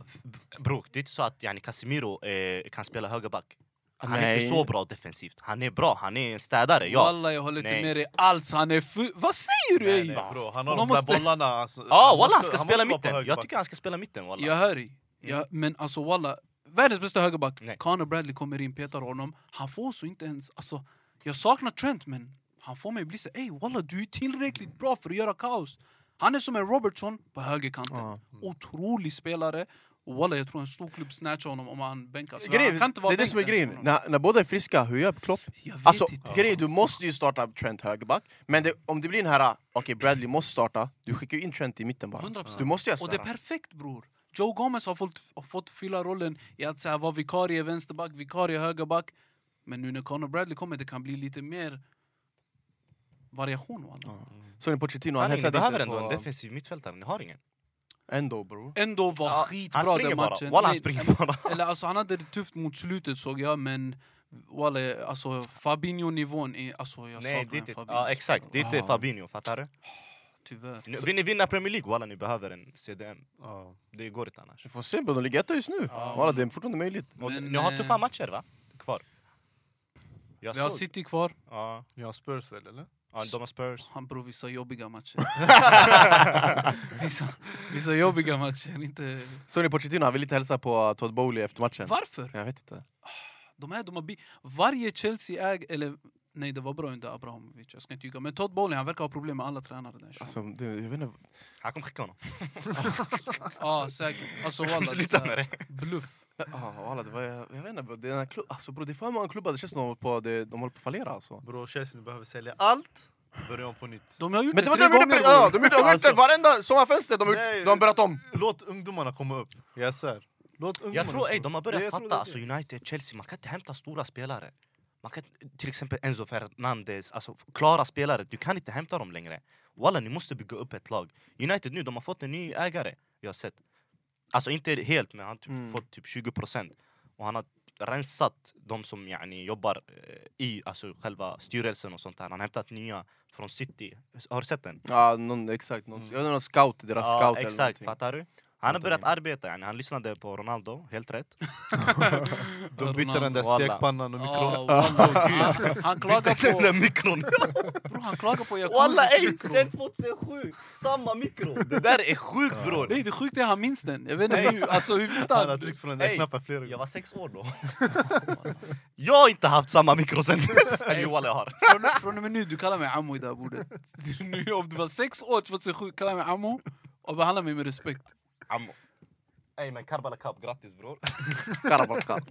bro, det är inte så att yani, Casemiro eh, kan spela högerback. Han är Nej. inte så bra defensivt. Han är bra, han är en städare. Ja, Walla, jag håller inte Nej. med dig alls. Han är fu- Vad säger du? Nej, ey? nej, bro. Han har De de där måste- bollarna. Alltså, ja walla han måste- ska måste vara på spela mitten. Jag högerback. tycker han ska spela mitten walla. Jag hör dig. Jag, Mm. men alltså walla, världens bästa högerback. Nej. Connor Bradley kommer in, petar honom. Han får så inte ens... Alltså, jag saknar Trent, men Han får mig att bli så ey walla du är tillräckligt bra för att göra kaos. Han är som en Robertson på högerkanten. Mm. Ja. Otrolig spelare. Och walla jag tror en stor klubb snatchar honom om han bänkas. För Grejen, Alltså, han kan inte det vara är det som är bänkens grejen. för någon. När, när båda är friska, hur gör Klopp? Jag vet Alltså, inte. grejen, du måste ju starta Trent högerback. Men det, om det blir den här, ah, okej Bradley måste starta, du skickar ju in Trent i mitten bara. 100%. Du måste göra Och det är sådär. perfekt bror. Joe Gomez har fått, har fått fylla rollen i att så här, vara vikarie vänsterback, vikarie högerback. Men nu när Conor Bradley kommer det kan bli lite mer variation. walla. Så är det Pochettino, han Sanningen, ni hälsade behöver inte ändå en på... defensiv mittfältare, ni har ingen. Ändå bror. Ändå var Ja, Han skitbra springer den bara, matchen. walla han Nej, springer bara. Eller alltså, han hade det tufft mot slutet såg jag, men walla, alltså, Fabinho-nivån är... Alltså, jag Nej, det saknar är inte, en Fabinho. ja, exakt. Det är inte Ja. Fabinho, fattar du? Tyvärr. Nu- Vill ni vinna Premier League, walla ni behöver en CDM. Ja. Det går inte annars. Vi får se, bro. de ligger etta just nu. Walla, det är fortfarande möjligt. Och Men, ni har eh, tuffa matcher va? Kvar. Jag Vi har såg. City kvar. Ja, Ni har Spurs väl, eller? ja, de har Spurs. Han bror, vissa jobbiga [LAUGHS] matcher. vissa, vissa jobbiga matcher, inte... Så är det Pochettino, han vill inte hälsa på ah, Todd Bowley efter matchen. Varför? Jag vet inte. De här, de har bi- Varje Chelsea äg eller nej det var bra under Abramovic, jag ska inte ljuga. Men Todd Bowley, han verkar ha problem med alla tränare. Den [LAUGHS] alltså. Alltså, det, jag vet inte. Han kommer skicka honom. Ja, säkert. Alltså walla, det är så [LAUGHS] Sluta med här, det. bluff. Ah, walla, det var, jag vet inte. bro. Det är, den här klubb, alltså, bro, det är för många klubbar, det känns som de håller på, det, de håller på att fallera alltså. Bro, Chelsea nu behöver sälja allt. Börja om på nytt. De har gjort Men det det var tre det de gjorde, gånger. pre- ja, bror. de gjorde- de har gjort det Alltså. varenda sommarfönster, de har, Nej. gjort- de har börjat om. Låt ungdomarna komma upp. Jag svär. Låt ungdomarna Jag tror komma ej, upp. de har Det- börjat jag tror fatta. det är Alltså det. United, Chelsea, man kan inte hämta stora spelare. Man kan, till exempel Enzo Fernandez, alltså klara spelare. Du kan inte hämta dem längre. Walla, ni måste bygga upp ett lag. United nu, de har fått en ny ägare. Jag har sett. Alltså inte helt, men han har typ Mm. fått typ 20 procent. Och han har rensat de som yani, jobbar eh, i alltså, själva styrelsen och sånt där. Han har hämtat nya från City. Har du sett den? Ja, någon, exakt. Någon, Jag vet inte, någon scout, deras Mm. Ja, scout eller exakt, någonting. fattar du? Han har Fattar börjat ni? arbeta, yani. han lyssnade på Ronaldo, helt rätt. De bytte den där Ronaldo, stekpannan och mikrofonen. Ja, walla, han- Han klagar Den där på... [LAUGHS] mikron! Bro, han klagar på Walla jacuzzis ey, mikro. sen 2007! Samma mikro! Det där är sjukt bror! Nej, det sjuka är han minns den. Jag vet inte hur, alltså, hur visste Han har han? tryckt på den där Ey, knappen flera gånger. Jag var sex år då. [LAUGHS] jag har inte haft samma mikro sen dess. Eller jo, walla jag har. Från, från och med nu, du kallar mig ammo i det här bordet. [LAUGHS] Nu, om du var sex år 2007, kalla mig ammo och behandla mig med respekt. Ammo. Ey men Karbala Cup, grattis bror. Karabach Cup.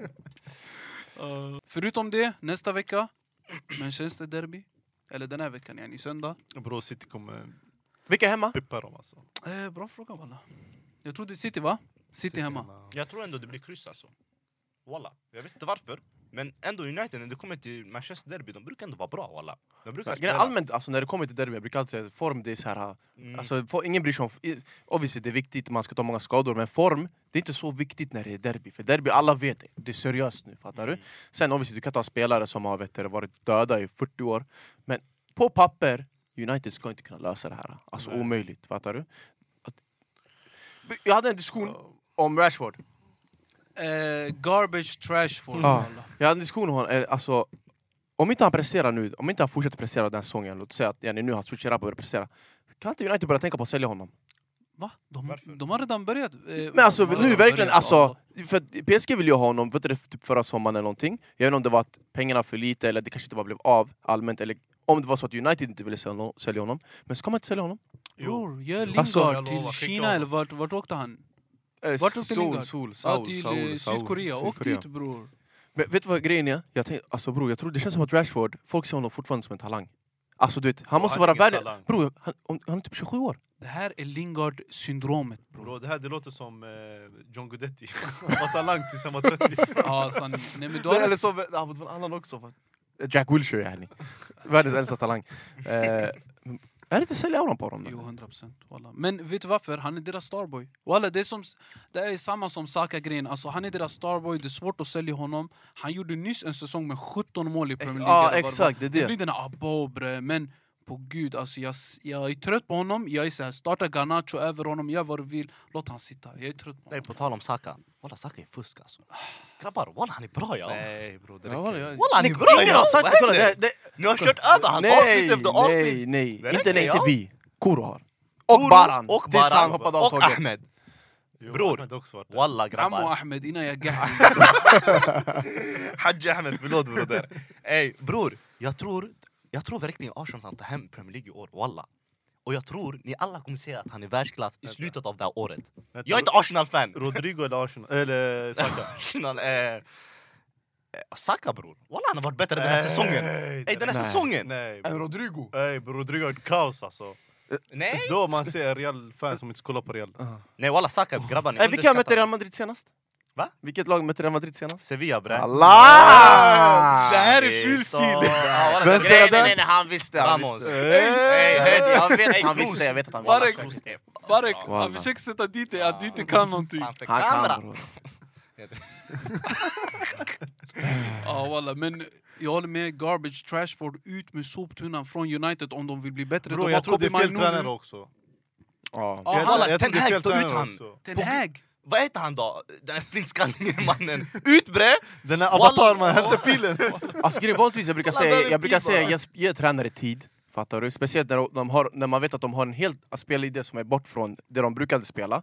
Förutom det, nästa vecka, Manchester Derby. Eller den här veckan, yani söndag. Bro, City kommer Vilka är hemma? pippa dem alltså. Eh, bra fråga walla. Jag tror det är City va? City, hemma. Jag tror ändå det blir kryss alltså. Walla, jag vet inte varför. Men ändå United, när det kommer till Manchester Derby, de brukar ändå vara bra walla. De brukar Grejen är spela. Allmänt, alltså, när det kommer till derby, jag brukar alltid säga att form, det är så här... Mm. Alltså, for, ingen bryr sig om... i- Obviously, det är viktigt, man ska ta många skador, men form, det är inte så viktigt när det är derby. För derby, alla vet det. Det är seriöst nu, fattar Mm. du? Sen obviously, du kan ta spelare som har vet, du, varit döda i 40 år, men på papper, United ska inte kunna lösa det här. Alltså Nej. omöjligt, fattar du? Att... Jag hade en diskussion om Rashford. Eh, garbage trash for Ja. walla. Jag hade en diskussion med honom, eh, alltså, om inte han presterar nu, om inte han fortsätter prestera den här säsongen, låt säga att Jenny nu har switchat upp och börjat prestera, kan inte United börja tänka på att sälja honom? Va? De, Varför? de har redan börjat. eh, Men alltså de har nu redan verkligen, börjat, alltså, ja. för att PSG ville ju ha honom, vet du, det, typ förra sommaren eller någonting. Jag vet inte om det var att pengarna var för lite eller det kanske inte bara blev av allmänt, eller om det var så att United inte ville sälja honom- sälja honom. Men ska man inte sälja honom? Bror, gör Lingard Alltså- Jag till lovar, skicka Kina honom. eller vart, vart åkte han? Eh, Vart åkte Lingard? Seoul, Ja, Seoul, till Seoul, eh, Seoul, Sydkorea. Åk Sydkorea. dit bror. Men vet du vad grejen är? Jag tänkte, alltså bror, jag tror det känns som att Rashford, folk ser honom fortfarande som en talang. Alltså du vet, han måste han är vara ingen världens... talang. Bror, han, om- han är typ 27 år. Det här är Lingard-syndromet bror. Bro, det här det låter som eh, John Guidetti. [LAUGHS] Han var talang tills han var 30. Ja, sanning. Nej, men du Nej, har eller som, han var en annan också. fan. Jack Wilshere yani. Världens äldsta talang. Eh, men är det inte sälja honom på honom? Jo, då? 100 procent. Men vet du varför? Han är deras starboy. Walla, det, är som, det är samma som Saka-grejen. Alltså, han är deras starboy, det är svårt att sälja honom. Han gjorde nyss en säsong med 17 mål i Premier League. Eh, Ja eller vad det var. exakt, det är Det det. blir den här abo, bre. Men på gud, alltså, jag, s- jag är trött på honom. Jag är så här, starta Garnacho över honom, gör vad du vill. Låt han sitta. Jag är trött på Ey honom. på tal om Saka. Walla Saka är fusk alltså. Grabbar, walla han är bra ja. Nej bro, det Ja, walla, räcker. jag- Walla han är Ni- bra Ingen har sagt det! kolla, det- det- Ni har kört över han avsnitt Nej, efter avsnitt. nej, nej. Det Inte räcker, nej, inte ja. vi. Koro har. Och Baran. Och Tills han Baran. hoppade av Och tåget. Ahmed. Jo, Bror. Ahmed har också varit där. Walla Ammo grabbar. Ahmed, innan [LAUGHS] jag gahar. [LAUGHS] Haji Ahmed, förlåt broder. Ey bror, jag tror Jag tror verkligen Arsenal kan ta hem Premier League i år, walla. Och jag tror ni alla kommer se att han är världsklass i Vänta. slutet av det här året. Vänta, Jag är inte Arsenal-fan! [LAUGHS] Rodrigo eller Arsenal? Eller Saka? Arsenal är... Eh, Saka bror, walla han har varit bättre den här Nej, säsongen! Ey den här Nej. säsongen! Nej, En bro. Rodrigo. Ey, bro, Rodrigo är kaos alltså. Nej! Då man ser Real-fans som inte kollar på Real. Nej walla Saka grabbar ni Eh, vilka mötte underskattar Real Madrid senast? Va? Vilket lag mötte Real Madrid senast? Sevilla bre. Allah! Det här är Det är ful så- stil. Ja, Ah, walla, Vem det- spelar Nej, den? nej, nej, nej, han visste. Han Ramos. visste. Ey, Jag vet- Heddy. jag vet att han Ey, visste, jag vet att han Kroos. Barek. visste. Kroos är- Barek, Fan, Wallah. han försöker sätta dit dig att du inte kan någonting. fan, för Han kamera. kan bror. Ja walla, men jag håller med. Garbage Trashford ut med soptunnan från United om de vill bli bättre. Bro, de jag tror det är fel tränare också. också. Ja. Ja, Jag- han- walla, jag tror det Ten är fel Hag, ta ut tränare han. också. Ten Hag! Vad heter han då? Den här flintskallige mannen. Ut bre! Den här Walla. avatar man hämtar pilen. Alltså, grejen är, vanligtvis jag brukar Kolla, säga, där är jag brukar tid bara. säga ge, ge tränare tid. Fattar du? Speciellt när, de har, när man vet att de har en helt spelidé som är bort från det de brukade spela.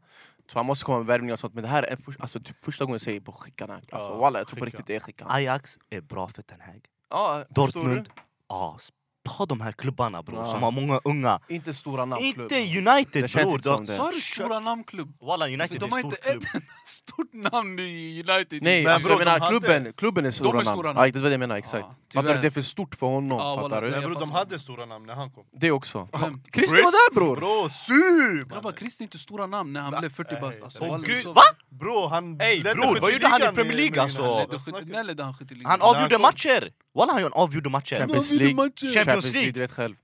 Så han måste komma med värvning och sånt. Men det här är för, alltså, typ första gången jag säger på skickarna. Alltså, Ja, walla, jag tror på skicka. riktigt det är skickarna. Ajax är bra för Ten Hag. Ja, förstår Dortmund, ja. s- Ta de här klubbarna bror, Ja. som har många unga. du? Inte stora namn. Inte klubb. United Det känns bror! inte då- som det. Sa du stora namnklubb? Walla, För United är de en har stor inte klubb. ett stort namn i United. Nej, Men alltså, bror, jag de menar hade- klubben, klubben är stora, är stora namn. namn. Ja, det var det jag menar, exakt. Ja, fattar tyvärr. du? Det är för stort för honom, Ja, fattar wallah, du? det- Nej, bro, fattar de inte. hade stora namn när han kom. Det också. Vem? Christer var där bror! Bror, su! Grabbar, Chris är inte stora namn när han blev 40 bast. Alltså, Åh, Walla, gud, så- va? Bro, han Ey, ledde bror, vad gjorde han i skytteligan Premier League, med- alltså? med- Han med- ledde skytte- När ledde han skytteligan? Han av- avgjorde kom. matcher! Walla, han gör en avgjorde matcher. Alltså, Champions Nu har vi League, de matchen. Champions Champions League. League, rätt själv.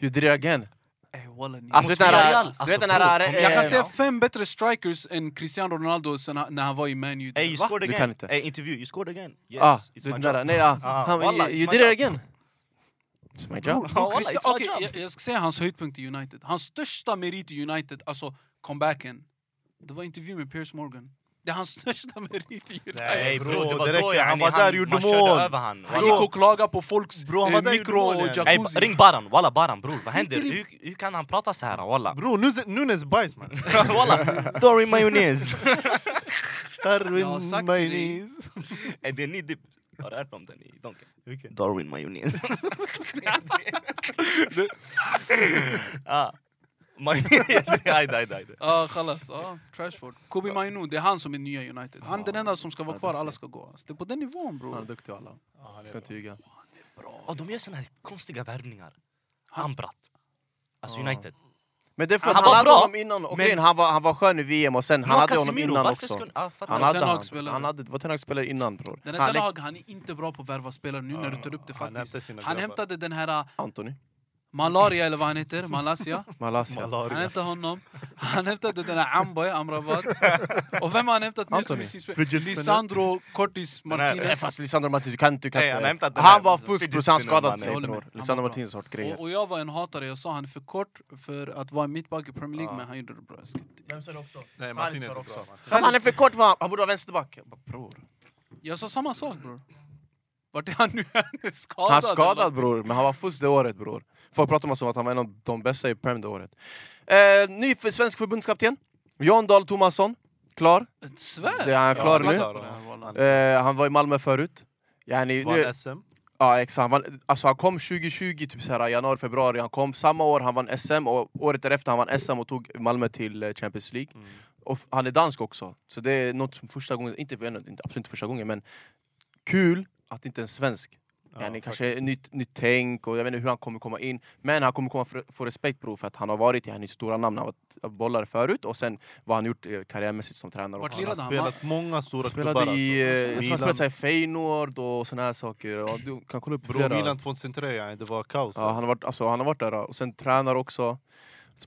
You did it again. Ey, walla, ni- Mot Alltså, vet du när- Villarreal. du vet den här- Alltså, bro, kom eh, Jag igen. kan säga fem bättre strikers än Cristiano Ronaldo sen han, när han var i Man Ey, you United. scored Du kan again. inte. Ey, intervju, you scored again. Yes, Ah, it's du vet my den job. där, nej, ah, Ah, han, wallah, you, you it's did my it again. It's my job. Bror, wallah, Christi- it's my okej, job. jag, jag ska säga hans höjdpunkt i United. Hans största merit i United, alltså comebacken, det var intervju med Piers Morgan. Det är hans [LAUGHS] största merit i United. Ey, Nej, bro, bro, det var det då räcker. jag- Han nej, var där, gjorde man körde mål. över han. Han Bro. gick och klagade på folks Bro, han eh, var där i mikro och målen. jacuzzi. Ey, ring Baran, walla Baran bror, vad händer? Skiter i- Hur, hur kan han prata så här walla? Bro, Nunes- Nunes bajs [LAUGHS] man. [LAUGHS] walla, Dory majonnäs! Jag har sagt till dig. Darwin Mayonnaise. [LAUGHS] Är det är en ny dipp? Har du hört om den i Donken? Vilken? Darwin [LAUGHS] majonnäs. [LAUGHS] ah. Majonnäs, [LAUGHS] ajde, ajde, ajde. Ja, kallas. Ja, Trashford. Kobe Mainu, det är han som är nya United. Han är den enda som ska vara kvar, alla ska gå. Alltså, Det är på den nivån Han är bror. duktig alla. Ah, Ska inte ljuga. Och Ah, de gör såna här konstiga värvningar. Ambrat. Alltså United. Men det är för Han att han, var hade bra, honom innan, och men- grejen, han, var, han var skön i VM och sen, han Men hade honom Casemiro, innan varför också. skulle- ah, fattar Han du? Ten hade Hag han, spelade. han hade, det var Ten Hag spelare innan bror. Den här Han, Ten Hag, Alex, han är inte bra på att värva spelare nu när du tar upp det Han hämtar faktiskt. sina Han grabbar. hämtade den här eh, Anthony, malaria eller vad han heter, Malaysia. Malaysia. Han Malaria. hämtade honom. Han hämtade den här Amboy, [LAUGHS] Amrabat. Och vem har han hämtat nu som Anthony. är sin spelare? Fidget spinner. Lisandro Cortis Den här- Nej Martinez. fast Lisandro Martinez, du kan inte... du kan Nej, inte- han har hämtat den här Han var fusk fidget bror, så han spinner, mannen. Jag skadade sig håller med. bror. Han var Lisandro bra. Martinez har hört grejer. Och, och jag var en hatare, jag sa han är för kort för att vara mittback i Premier League, Ja. men han gjorde det bra. Vem sa det också? Nej, Martinez är bra. Han är för kort, va? han borde vara vänsterback. Jag bara, bror. Jag sa samma sak bror. Vart är han nu? [LAUGHS] Han är skadad. Han skadad bror, men han var fusk det året bror. Folk pratar om honom som att han var en av de bästa i Prem det året. Eh, ny för svensk förbundskapten, Jan Dahl Tomasson, klar. eller? Svär! Det är han Jag klar snackat nu. på det här, wallah. Eh, han var i Malmö förut. Yani, nu, Vann SM. ja, exakt. Han, vann, alltså, han kom 2020, typ så här, januari, februari. Han kom samma år, han vann SM och året därefter han vann SM och tog Malmö till eh, Champions League. Mm. Och f- han är dansk också, så det är något som första gången, inte, inte absolut inte första gången, men kul att inte en svensk Ja, Yani, fuck. kanske ett nytt, nytt tänk och jag vet inte hur han kommer komma in. Men han kommer komma för, få respekt bror för att han har varit i hans stora namn. Han har varit bollare förut och sen vad han gjort eh, karriärmässigt som tränare. Vart också. Han har lirade han? spelat många stora Han spelade klubbar. alltså. i, eh, jag tror han Milan. spelade så här i Feyenoord och såna här saker. Ja, du kan kolla upp Bro, flera. Milan 2003, yani, det var kaos. Ja, han, har varit, alltså, han har varit där och sen tränare också.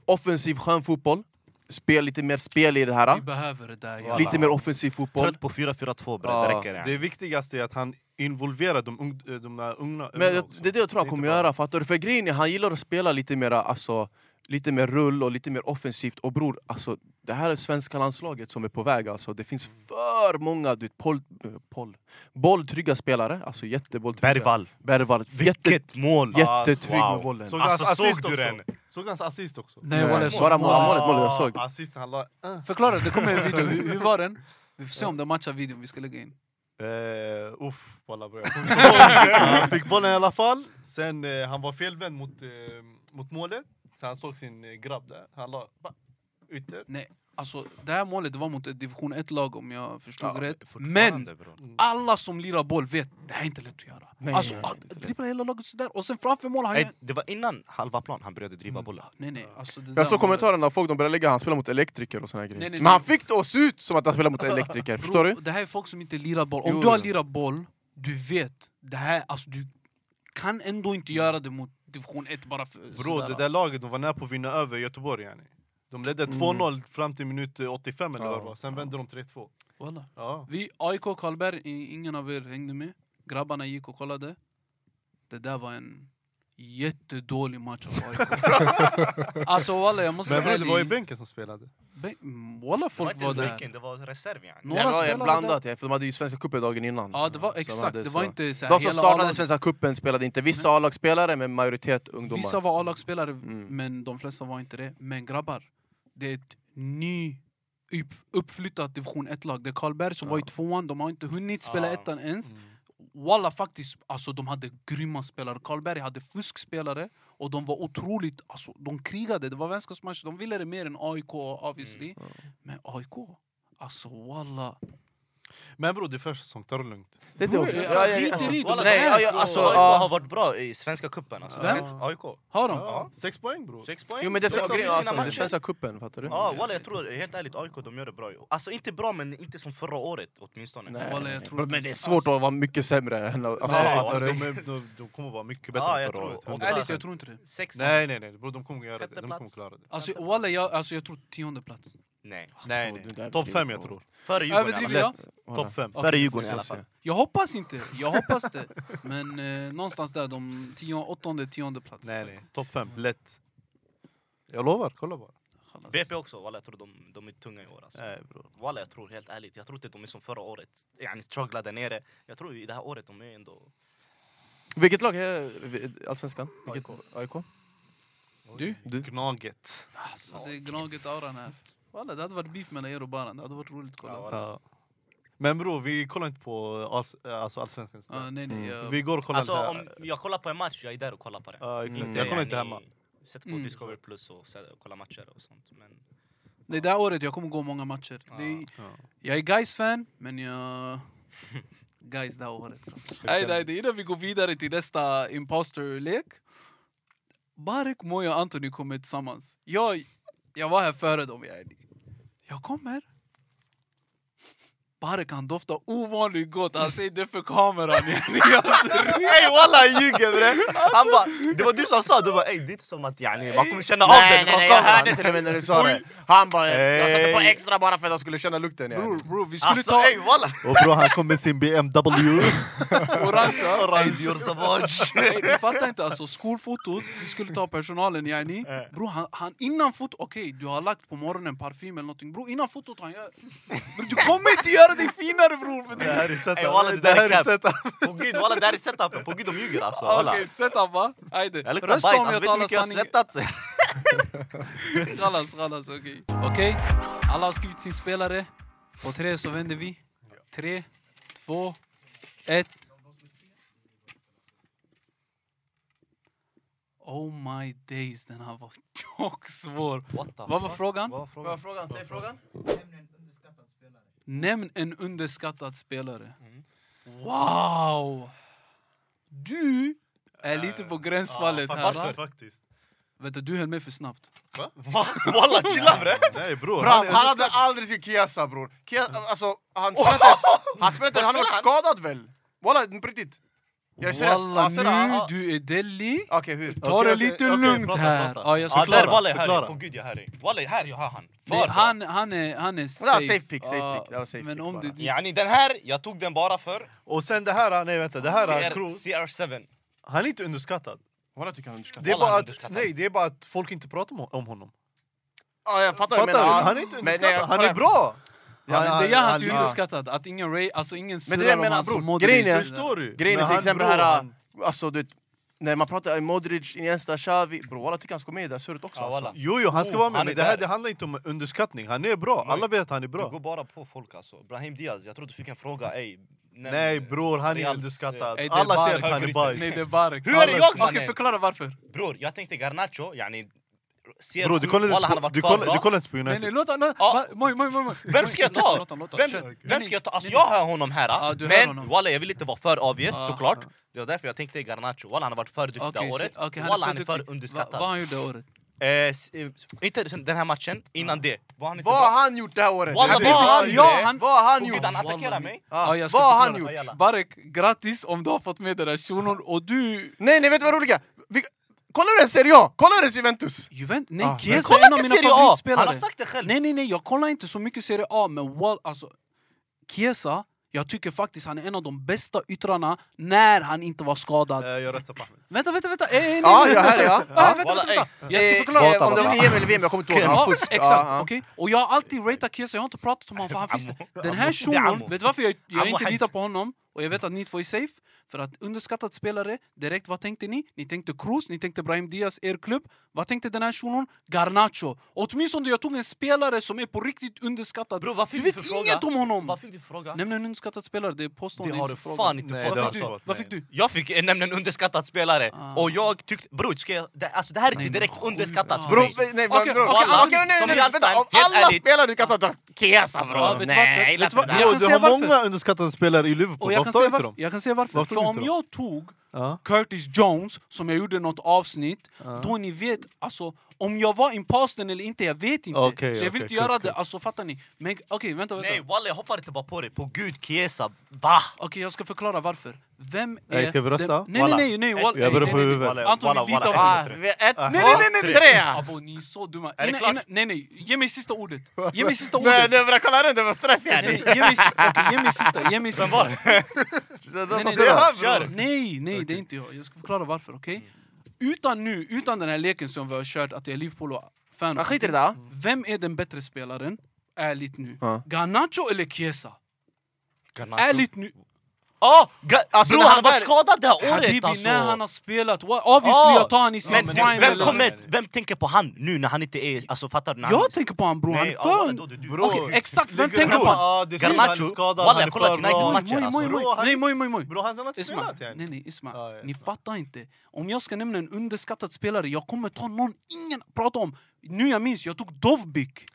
Offensiv skön fotboll. Spel lite mer spel i det här. Vi behöver det där. Wallah. Lite mer offensiv fotboll. Trött på 4-4-2 bre, det Ja, räcker. alltså. Det yani. viktigaste är att han involverar de, ung, eh, de där unga. Men unga jag, också. det är det jag tror han inte kommer bara- göra, fattar du? För grejen är, han gillar att spela lite mer, alltså, lite mer rull och lite mer offensivt. Och bror, alltså, det här är svenska landslaget som är på väg. Alltså. Det finns för många du vet, pol, eh, pol, bolltrygga spelare. Alltså jättebolltrygga. Bergvall. Bergvall. Jätte, Vilket mål! jättetrygg Wow. med bollen. Såg du hans Alltså, såg assist du också? den? Såg du hans assist också? Nej, Nej, wallah, svara så- målet, målet, målet, jag Ah, såg. Assisten han la... Förklara, det kommer en video. Hur, hur var den? Vi får se om det matchar videon vi ska lägga in. Eh, Eh, uff, walla bror. jag kommer [LAUGHS] inte ihåg. Han fick bollen i alla fall. Sen eh, han var felvänd mot, eh, mot målet. Så han såg sin eh, grabb där. Han la ba, ytter. Nej, alltså det här målet det var mot ett division 1-lag om jag förstod rätt. Men Fortfarande, bror. alla som lirar boll vet, det här är inte lätt att göra. Nej, alltså, nej, ah, dribbla hela laget sådär och sen framför mål, han Nej, gör... det var innan halva plan han började driva Mm. bollen. Nej, nej, alltså det där Jag såg målet- kommentarerna, folk de började lägga han spelar mot elektriker och såna här grejer. Nej, nej, Men han nej. fick det att se ut som att han spelar mot elektriker, Bro, förstår du? Det här är folk som inte lirar boll. Om Jo, du har jo. lirat boll, du vet, det här, alltså du kan ändå inte göra det mot division 1 bara för Bro, det där laget de var nära på att vinna över Göteborg. Yani. De ledde Mm. 2-0 fram till minut eh, 85 eller Ja, vad det var. Sen ja. vände de 3-2. Walla. Ja. Vi, AIK och Karlberg, i- ingen av er hängde med. Grabbarna gick och kollade. Det där var en jättedålig match av AIK. alltså walla, jag måste Men vara bror, det var ju ärlig. bänken som spelade. Bän- mm, Walla, folk det var var inte ens där. bänken, det var reserv yani. Några det var spelare blandat, ja, för de hade ju Svenska cupen dagen innan. Ja, det var Mm. Så de exakt. hade Det var så. inte så här De som hela startade A-lag. Svenska cupen spelade inte, vissa A-lagsspelare men majoritet ungdomar. Vissa var A-lagsspelare, Mm. men de flesta var inte det. Men grabbar, det är ett ny upp, uppflyttat division 1-lag. Det är Karlberg som var i tvåan, de har inte Ah. hunnit spela Ja. ettan Mm. ens. Mm. Walla faktiskt, alltså de hade grymma spelare. Karlberg hade fuskspelare och de var otroligt, alltså de krigade. Det var vänskapsmatcher, de ville det mer än AIK obviously. Mm, Men AIK, alltså walla. Men bror, det är första säsong, ta det lugnt. Det är inte Bro, okej. jag Ja, ja, skiter alltså, i dem. Nej, ja, ja, Alltså, alltså, AIK ja. har varit bra i svenska cupen. Alltså. Vem? Rent AIK. Har de? Ja. Sex poäng bror. Sex poäng. Jo men det är sex så av grejen, sina alltså, det är matcher. Svenska cupen, fattar du? Ja, walla, jag tror helt ärligt AIK de gör det bra. i år. Alltså inte bra, men inte som förra året åtminstone. Nej, Walla, nej, jag nej. tror men det är inte- svårt att vara mycket sämre än... Alltså, Nej, fattar de, du? är, de, de kommer vara mycket bättre Ja, än jag förra tror- året. 100%. Ärligt, jag tror inte det. Sex Nej, nej, nej. Bror, de kommer göra det. Sjätte De kommer plats. klara det. Alltså walla, jag, alltså, jag tror tionde plats. Nej. Nej, Åh, det nej. där Topp blir- fem, jag åh. tror. Före Djurgården i alla Överdriver fall. jag? Walla. Topp fem. Okej. Före Djurgården i alla se. fall. Jag hoppas inte, jag hoppas det. Men eh, någonstans där, de tio, åttonde, tionde plats. Nej, nej. Topp fem. Lätt. Jag lovar, kolla bara. Kallas. BP också, walla, jag tror de, de är tunga i år. Alltså. Nej, bror. Walla, jag tror helt ärligt. Jag tror inte de är som förra året. Yani strugglade där nere. Jag tror i det här året de är ändå... Vilket lag är Allsvenskan? Vilket- AIK? Du? Du? Gnaget. Alltså, det är gnaget auran här. Walla, det hade varit beef mellan er och Baran, det hade varit roligt att kolla. Ja, Ja, walla. Ja. Men bror, vi kollar inte på alls, alltså allsvenskan. nej, nej, jag, Vi går och kollar Alltså inte här. om jag kollar på en match, jag är där och kollar på den. Ja, exakt. Mm. Jag kollar yani, inte hemma. Sätter på Mm. Discovery Plus och se- kollar matcher och sånt. Men nej, det här året jag kommer gå många matcher. Det är, Ja. jag är guys fan men jag... [LAUGHS] Guys det här året. Nej, nej, det är innan vi går vidare till nästa imposter-lek. Barek, Moya och Anthony kommer tillsammans. Jag, jag var här före dem. Jag, jag kommer. Barek han doftar ovanligt gott. Han säger det för kameran. [LAUGHS] yani. Alltså, Ey walla han ljuger bre! Han bara, det var du som sa, du bara ey det är inte som att yani man kommer känna av Nej, den nej, från nej, jag hörde kameran. till och med när du sa det. Han bara, jag satte på Hey. extra bara för att jag skulle känna lukten igen. bror, bror, vi skulle Alltså ta ey [LAUGHS] walla! Och bror, han kom med sin BMW. [LAUGHS] orange. va? Orange Dior Savage! Nej, du fattar inte, alltså skolfotot, vi skulle ta personalen yani. Bro, han, han innan fotot, okej du har lagt på morgonen parfym eller någonting. Bro, innan fotot han gör... Bro, du kommer inte göra dig finare bror! För Det det. här är setup. Ey, walla, det det, där är här är cap. setup. På gud walla det här är setupen, på gud de ljuger alltså Okej, walla. setup va? Ajde. Jag luktar bajs, Rösta om alltså, vet jag talar du hur mycket jag har sanning. svettats? Kallas, kallas, okej. Okej, alla har skrivit sin spelare. På tre så vänder vi. Tre, två, ett. Oh my days, den här var [LAUGHS] tjock svår. What the Vad var fuck? frågan? Vad var frågan? frågan? Säg frågan. Nämn en underskattad spelare. Wow! Du är lite på gränsfallet Ja, här. fan, va? [LAUGHS] Faktiskt. Vet du, du höll med för snabbt. Va? Walla chilla bre! Nej bror. Bra, han han är- hade aldrig sin Kiasa bror. Kiasa, alltså, han spelade inte ens- Han spelade inte, han har varit skadad väl? Walla, på riktigt. Jag är seriös. Walla, Han ser det här. nu du är Delhi. Ah, Okej, hur? Ta Okej, det okej, lite okej, lugnt prata, här. prata. Ja, jag ska Ja där förklara. walla är förklara. här, på gud jag är här. Walla här jag har han. För Nej, bra. han, han är, han är safe. safe pick, safe Ja, pick. Det var safe men pick om bara. det, du, Yani den här, jag tog den bara för Och sen det här, nej vänta, det här är CR, Cruz. CR7. Han är inte underskattad. Walla tycker han är underskattad. Det är, Alla bara han att, underskattar. nej, det är bara att folk inte pratar om- om honom. Ja, Ah, jag fattar vad Fattar du du? menar. Han är inte Men nej, jag underskattad, han kollar- är bra! ja, men det gör han till han- underskattad. Att ingen, Ray, alltså ingen Men det surrar jag om menar, han bror, som Modric. grejen är- Förstår du? Grejen är Men till han- exempel bror, det här, han- alltså du vet, när man pratar om Modric, Iniesta, Xavi, bror walla tycker han ska vara med i det här surret också Ja, alltså. walla. Jo, jo, han ska Oh, vara med, han men är det här där. det handlar inte om underskattning. Han är bra, alla vet att han är Du går bra. bara på folk alltså. Brahim Diaz, jag tror du fick en fråga. Ey, Nej bror, han är Reals, underskattad. Ey, det är Alla ser Bark. Kanye Nej, bajs. det är Bark. Hur är det jag, Okej, mannen? förklara varför. Bror, jag tänkte Garnacho, yani... Ser Bror, du sjuk- kollar Walla, han har inte på- varit du kvar kollar- bra. du kollar inte på Nej, typ. nej, United. låt honom... Ja. Va- Moj, moj, moj, moj. Vem ska jag Låt honom, ta? låt honom, låt honom. Kör. Vem, vem Nej, ska jag ta? Alltså nej, jag hör honom här, Ja, du hör honom. men walla jag vill inte vara för obvious Ja, såklart. ja. Det var därför jag tänkte Garnacho, walla han har varit för duktig det Okej, här så- året. okej, walla han är duktig. för underskattad. Va- Vad han gjorde året? Eh, s- eh, inte sen den här matchen, innan det. Var han inte Vad bra? har han gjort det här året? Walla, Det är vad har bra. han gjort? Vad har han Och gjort? han attackerar Wallah, mig. Ja, Ja, jag ska vad har han förklara. gjort? Jalla. Barek, grattis om du har fått med den där shunon och du... Nej, nej, vet du vad roliga? Vi... Kolla hur den Serie A! Kolla hur den Juventus! Juvent... Nej, Ah, Chiesa kolla är en av inte mina Serie A! favoritspelare. Han har sagt det själv. Nej, nej, nej, jag kollar inte så mycket Serie A, men wall, alltså, Chiesa, jag tycker faktiskt han är en av de bästa yttrarna när han inte var skadad. Eh, Jag röstar på Ahmed. Vänta, vänta, vänta! Eh, nej, Ja, nej, jag är här, vänta, ja. vänta, Ja. vänta, vänta, Walla, vänta. Jag ska förklara. Eh, om det va? var EM eller VM, jag kommer inte ihåg. Ja, Han fusk. exakt, ja, ja. okej. Och jag har alltid ratat Kiese, jag har inte pratat om honom för han finns... Den här Ammo, det är shunon, ammo. vet du varför jag, jag Ammo inte haj. litar på honom? Och jag vet att ni två är safe. För att underskattad spelare, direkt vad tänkte ni? Ni tänkte Cruz, ni tänkte Brahim Diaz, er klubb. Vad tänkte den här shunon? Garnacho. Åtminstone jag tog en spelare som är på riktigt underskattad. Bror, vad du fick du vet för fråga? inget om honom! Vad fick du för fråga? Nämn en underskattad spelare, det är påstående, det har inte du fråga. fan inte Nej, fått. det har Vad fick jag Alltså. du? fått, Vad nej. fick du? Jag fick eh, nämligen en underskattad spelare, Ah. och jag tyckte... Bror, ska jag... det- Alltså det här är Nej, men inte direkt skit. underskattat Ah. för Bro, mig. nej, nej, Okej, bro. okej, Okej, okej, nej, nej, som nej, Real-fan, vänta, av helt alla ärligt. spelare du kan ta, ta Kesa Ja, bro! vet du Nej, varför? jag gillar Vet du vad- inte det jag Bror, där. kan du säga har varför. många underskattade spelare i Liverpool. Och jag Varför kan, tar säga inte varför, dem? jag kan säga varför. Varför För inte om dem? jag tog Ja. Curtis Jones, som jag gjorde något avsnitt, Ja. då ni vet, alltså, om jag var impostern eller inte, jag vet inte. Okej, så jag okej, vill inte cool, göra cool. det, alltså fattar ni? Men okej, vänta, vänta. Nej Okej, walla jag hoppar inte bara på det, på gud Chiesa, va? jag ska förklara varför. Vem är... Nej, ska vi rösta? den- Nej, Walla. nej, nej, nej, wall, Jag börjar nej, få nej, nej. huvudvärk. Anton, Walla, lita walla, på en, Ah, två, tre. vi- Ett, Nej, Nej, två, nej, nej, nej! tre! Abo, ni är så dumma. Är det Innan, klart? innan, nej, nej, ge mig sista ordet. Ge mig [LAUGHS] sista Nej, ordet. nej, bra, kolla runt, det var stress Nej, nej, yani! ge, mig, si- okej, ge mig sista, ge mig sista. Nej, nej, Det är han, nej, bror. nej, nej, det är inte jag. Jag ska förklara varför, okej? Utan nu, utan den här leken som vi har kört, att jag är Liverpool-fan. Ja, Skit i det där. Vem är den bättre spelaren? Ärligt nu. Ja. Garnacho eller Chiesa? Garnacho. Ärligt nu. Ja! ga- Alltså, bror han det här har varit där- skadad det här året Habibi, alltså! när han har spelat... wa- Obviously, Ja, jag tar han i sin Men men prime. du- vem, eller- kommer, vem tänker på han nu när han inte är... Alltså fattar du? När han... Jag tänker på han bror, han är Nej, ja, för... walla, då är det du. Bror. Okej, exakt, vem Ligger- tänker på honom? Ja, det är synd, han är Garnacho, skadad, walla han är jag kollar för bra. Moj, United-matchen moj, alltså. moj. Bro, han- Nej, moj, moj, moj. Bror, han har inte Isma, spelat nej, yani. nej, Isma. Ja, jag Ni fattar inte. Om jag ska nämna en underskattad spelare, jag kommer ta någon ingen pratar om. Nu jag minns, jag tog Dovbik.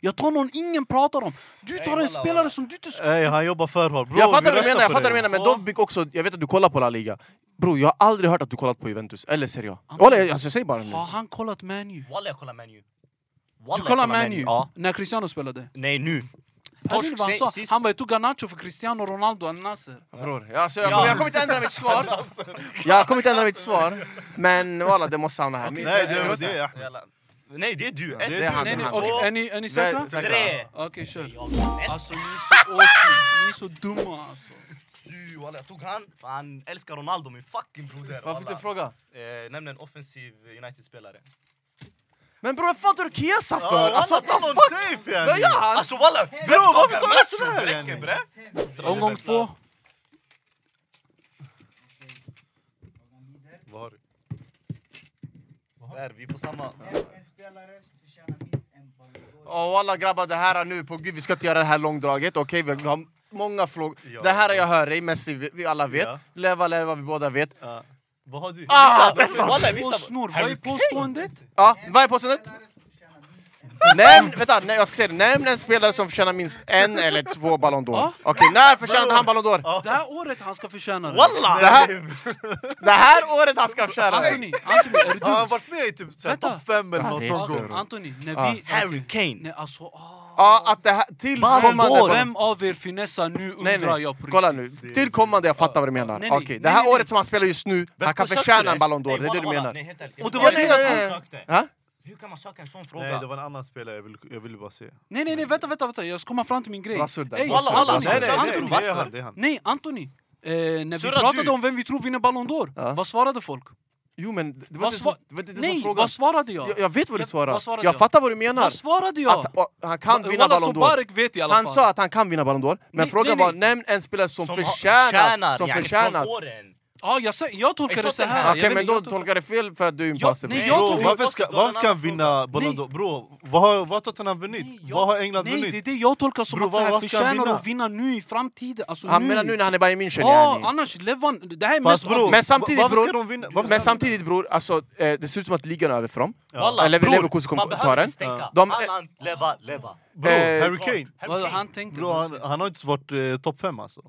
Jag tar någon ingen pratar om. Du tar en walla, spelare walla. som du inte... ska- Ey, han jobbar för hårt. Bror, Jag vi fattar vad du röstar menar, jag på fattar vad dig. du menar, men Ja. Dovbik också, jag vet att du kollar på La Liga. Bro, jag har aldrig hört att du kollat på Juventus, eller Serie A. Walla, jag, alltså, jag säger bara nu. Har han kollat Man U? Walla jag kollar Manu. Du kollar Man U? Ja. När Cristiano spelade? Nej nu. Jag vet inte vad han se- sa. sist- [LAUGHS] Han bara, jag tog Garnacho för Cristiano Ronaldo och Nasser. Bror, jag- alltså, jag, Ja. kommer- jag kommer inte ändra [LAUGHS] mitt svar. Jag kommer inte ändra mitt svar. Men walla, det måste hamna här. Nej, det är det är Ahmed. Jalla. Nej det är du. det är Ett, du. han, Nej, nej, han. okej, är ni, är ni säkra? Nej, tre. Okej, kör. Jag vann ett. Alltså ni är så åsnor, ni är så dumma alltså. Sy, walla, jag tog han. För han älskar Ronaldo, min fucking broder. Varför fick walla. du fråga? Eh, nämn en offensiv United-spelare. Men bror, vad fan tar du Kesa Ja, för? walla, Alltså, ta någon safe vad yani. gör han? Alltså walla! Bro, varför tar du sådär, yani? Omgång två. Vad har du? Där, vi är på samma... En spelare som förtjänar minst en Ballon d'Or. Åh walla grabbar, det här är nu på gud, vi ska inte göra det här långdraget. Okej, vi- vi har många frågor. Ja. det här är jag hör dig, Messi, vi, vi alla vet. Ja. Leva, leva, vi båda vet. Ja. Vad har du? Ah, Vissa- Walla, vissa... Åsnor, vad är påståendet? Ja, vad är påståendet? En spelare som förtjänar Nämn, minst en vänta, nej, jag ska säga det. Nämn en spelare som förtjänar minst en eller två Ballon d'Or. Ja. Okej, när förtjänade han Ballon d'Or? Det här året han ska förtjäna det. Walla! Det här, det här året han ska förtjäna det. Anthony, Anthony, är du [LAUGHS] Har han dum? varit med i typ så här Vänta. topp fem eller Ja, det är något någon Okej, gång? Anthony, när Ja. vi... Harry Kane. Nej alltså, ah. Ja, att det här tillkommande... d'Or. Vem av er finessar nu Nej, undrar nej, jag på kolla riktigt. nu. Tillkommande, jag fattar vad du menar. Nej, Okej, nej. det Nej, här nej, året nej. som han spelar just nu, han kan Varför sökte förtjäna du en Ballon Nej, d'Or, det är det walla, du walla, menar? nej, helt ärligt. Och det Jag var vet det jag inte tog. vad du sökte. Ha? Hur kan man söka en sån Nej, det fråga? var en annan spelare jag ville jag ville bara se. Nej nej nej, vänta vänta, vänta. jag ska komma fram till min grej. Bra surr där, Ey, bra surr, bra Anthony, surr. Nej, nej, Anthony, nej, det är han. Det är han. Nej, Anthony. Eh, när vi Surra pratade du. om vem vi tror vinner Ballon d'Or, Ja. vad svarade folk? Jo men, det var Vad inte så- sva- det var inte det Nej, som vad frågan. svarade jag? Jag, jag vet vad du Jag- vad svarade. svarade Jag jag? fattar vad du menar. Vad svarade jag? Att, och, han kan vinna Walla, så Ballon d'Or. Barek vet i alla Han fall. sa att han kan vinna Ballon d'or, men Nej, frågan nej, var nej. nämn en spelare som, har- förtjänar, som yani, förtjänar. från åren. Ja, jag, sa- jag tolkar det så här. Okej, Jag vet men inte, då jag tolkar- tolkar du fel för att du är Ja, impassiv. nej, jag Bro, tog- varför ska, varför ska han vinna Ballon Nej. d'Or? Bro, vad har, vad har Tottenham vunnit? Nej, jag- vad har England Nej, det är vunnit? det jag tolkar som Bro, att så vad- här, vad ska han förtjänar vinna? att vinna nu i framtiden. Alltså, Han nu. menar nu när han är bara i München. Ja, yani. annars Levan... Det här är Fast mest... bror, Men samtidigt, va- varför bror- ska de vinna? Varför Men ska de- samtidigt bror, alltså, eh, det ser ut som att ligan är över för dem. Ja. Walla, Eller bror, Leverkusen kom- man behöver tar den. inte stänka. De- Han, han, leva, leva. Bro, Eh, Harry Kane. Vad han tänkte... Bro, han, Han, han har inte varit eh, topp fem alltså.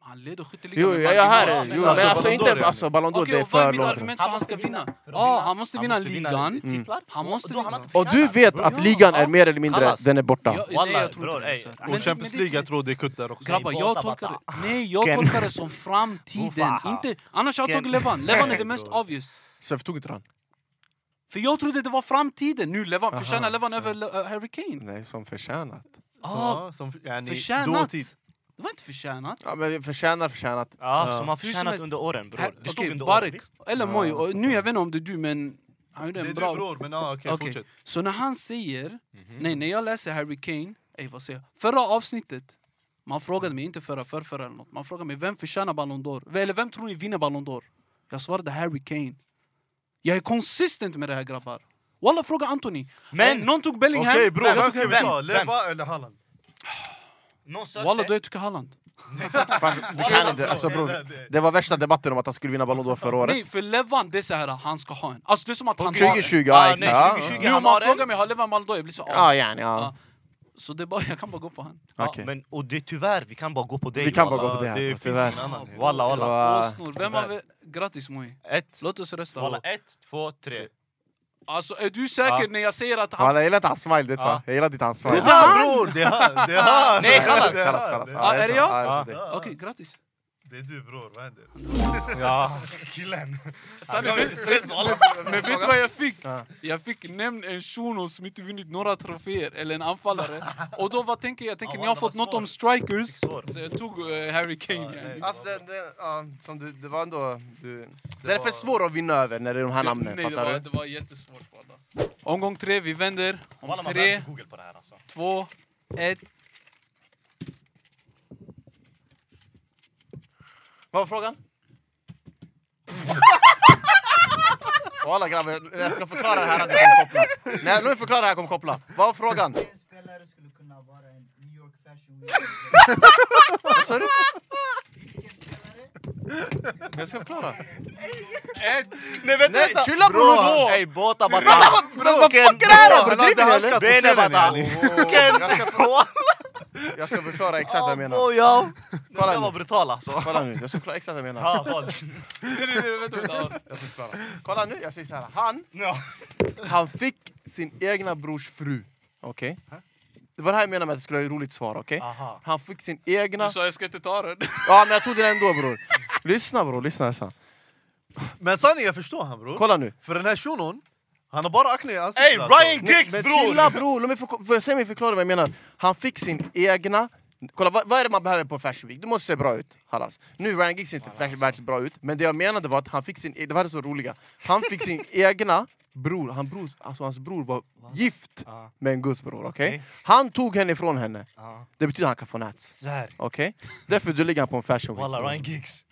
han leder skytteligan Jo, med jag, jag är här. marginal. Jo, men Alltså, Ballon d'Or alltså inte är alltså, Ballon d'Or, Okej, det är och vad är för mitt långt. argument för att han ska vinna? Ja, han måste vinna ligan. Mm. Han måste vinna. Och du vet att ligan är mer eller mindre, Kallas. den är borta. Ja, nej, Wallah, jag tror inte bror, det. alltså. är ey. så här. Och Men- Och men Champions det är inte- League, jag tror det är kutt där också. Grabbar, Nej, jag Bota tolkar Bata. det, nej, jag tolkar det som framtiden. Ufa. Inte, annars har jag Ken. tagit Levan. Levan är det mest obvious. Så jag förstod inte han. För jag trodde det var framtiden. Nu Levan, förtjänar Levan över Le- äh, Harry Kane? Nej, som förtjänat. Ah, Så, som, yani, förtjänat? dåtid. Det var inte förtjänat. Ja, men förtjänar, förtjänat. Ja, Ja. som han Hur som förtjänat helst- under åren bror. Här- Det stod Okej, under åren. Barek, visst. eller Moj, och nu jag vet inte om det är du men han gjorde Det är en du bra... bror, men ah, okej Okej, fortsätt. Mhm. Så när han säger, nej när jag läser Harry Kane, ey, vad säger jag? Förra avsnittet, man frågade mig, inte förra, förrförra eller något, man frågade mig vem förtjänar Ballon d'Or? Eller vem tror ni vinner Ballon d'Or? Jag svarade Harry Kane. Jag är konsistent med det här grabbar. Walla fråga Anthony. Men- Men någon tog Okej Bellingham, bror, jag vem tog ska vi Bellingham. ta? Vem? Leva eller Haaland? Någon Walla då sökte. jag tycker Halland. Fast det kan inte. Alltså, bror, det var värsta debatten om att han skulle vinna Ballon d'Or förra året. Nej för Levan det är så här, han ska ha en. Alltså det är som att han har en. 2020, ja nej, exakt. Ja, 2020. Nu om Han man har frågar en. mig, har Levan Ballon d'Or? Jag blir så ah. Ja, gärna. Ja. Så det är bara, jag kan bara gå på han. Ja, Okej. men, och det, tyvärr, vi kan bara gå på dig. Vi kan bara walla. gå på det det här, finns tyvärr. ingen annan. Walla, Så, walla. Så, åsnor. Vem har vi? Grattis Moj. Ett, Låt oss rösta. walla, ett, två, tre. Alltså är du säker Ja. när jag säger att han... Walla, jag gillar inte hans smile, det Ja. tar. Jag gillar ditt hans Det smile. är han bror! Det är han! Det är han! Nej, kallas. Det är Kallas, han, kallas. det Ja, är det så. jag? Ja, så Ja. det. han. Okej, grattis. Det är du bror, vad händer? Ja. Killen. Sanne, men, men vet du vad jag fick? Jag fick nämn en shuno som inte vunnit några troféer, eller en anfallare. Och då vad tänker jag? Jag tänker Ja, ni har det fått var något om strikers, så jag tog eh, Harry Kane. nej. Alltså det, det, ja, som du, det var ändå... Du, det, är för var- svårt att vinna över när det är de här namnen, Nej, det fattar var, du? det var jättesvårt. Walla. Omgång tre, vi vänder. Om Walla, man tre, behöver inte google på det här alltså. två, ett. Vad var frågan? Walla grabbar, när jag ska förklara det här, jag kommer koppla. Nej, låt mig förklara det här, jag kommer koppla. Vad var frågan? En spelare skulle kunna vara en New York Fashion Week. Vad sa du? Vilken spelare? Jag ska förklara. Ett! Nej vänta! Nej, chilla bror! Ey Bota Bata! Vad vad fuck är det här? bror? Driver ni, eller? Bene Bata! Jag ska för- Jag ska förklara exakt vad jag menar. Boja! Det Kolla där var nu. brutal alltså. Kolla nu, jag ska förklara exakt vad jag menar. Ja, vad? Nej, nej, nej, vänta, vänta. Jag ska förklara. Kolla nu, jag säger så här. Han Ja. Han fick sin egna brors fru. Okej? Det var det här jag menade med att det skulle vara ett roligt svar. Okej? Aha. Han fick sin egna... Du sa jag ska inte ta den. Ja, men jag tog den ändå bror. Lyssna bror, lyssna. lyssna. Men sanningen, jag förstår han bror. Kolla nu. För den här shunon, han har bara akne i ansiktet. alltså. Ey Ryan Nej, Giggs men bror! chilla bror! Låt mig förko- för, säg mig förklara vad jag menar. Han fick sin egna... Kolla, vad, vad är det man behöver på Fashion Week? Du måste se bra ut, halas. Nu Ryan Giggs ser inte fashion världs bra ut, men det jag menade var att han fick sin... e- Det var det så roliga. Han [LAUGHS] fick sin egna bror, han bror, alltså hans bror var gift Ja. med en gudsbror, okej? Okej. Han tog henne ifrån henne. Ja. Det betyder att han kan få nats. Svär. Okej? Därför du ligger han på en fashion week. Walla Ryan Giggs.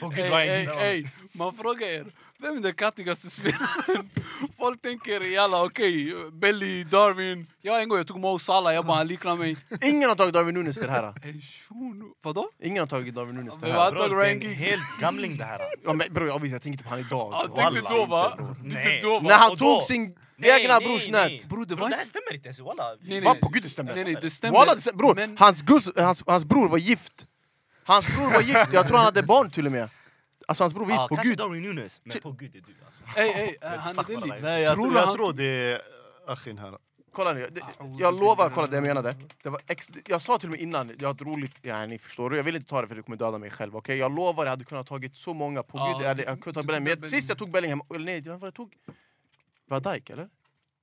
På gud Ey, Ryan ey, Giggs. ey, man frågar er, vem är den kattigaste spelaren? [LAUGHS] Folk tänker, jalla okej, Belly, Darwin. Jag en gång jag tog Mo Salah, jag bara han liknar mig. Ingen har tagit David Nunes till det här. Ey shuno, vadå? Ingen har tagit David Nunes till Men det vad- här. Jag tar Bror, det är Ryan en Giggs. helt gamling det här. alltså. Ja, men, bror, jag, jag tänkte på han idag. Han bror. tänkte då va? bror. Tänkte då När va? han Och då? tog sin Nej, egna nej, brors nej. nät. Bror det Bror var det här inte... stämmer inte ens walla. Nej, Va? nej. På gud det stämmer. Nej nej det Walla, stämmer. det stämmer. Bror, Men- hans, gus, hans, hans bror var gift. Hans bror var gift. Jag tror han hade barn till och med. Alltså hans bror var gift. Ja, på kanske gud. Darwin Nunes, men på gud är du alltså. Ey ey, eh, han är Stack bara deli. dig. Nej, jag Tror tror, du jag han- tror det är akhin här. Kolla nu. Ah, oh, Det, jag lovar, kolla det jag menade. Det var ex, jag sa till och med innan, jag har ett roligt... Ja, ni förstår du? Jag vill inte ta det för du kommer döda mig själv. Okej? Jag lovar, jag hade kunnat tagit så många. På Ja, gud, jag, hade, du- jag kunde du ta Bellingham. tog Men Sist jag tog Bellingham... Eller nej, det var jag tog... Van Dijk, eller?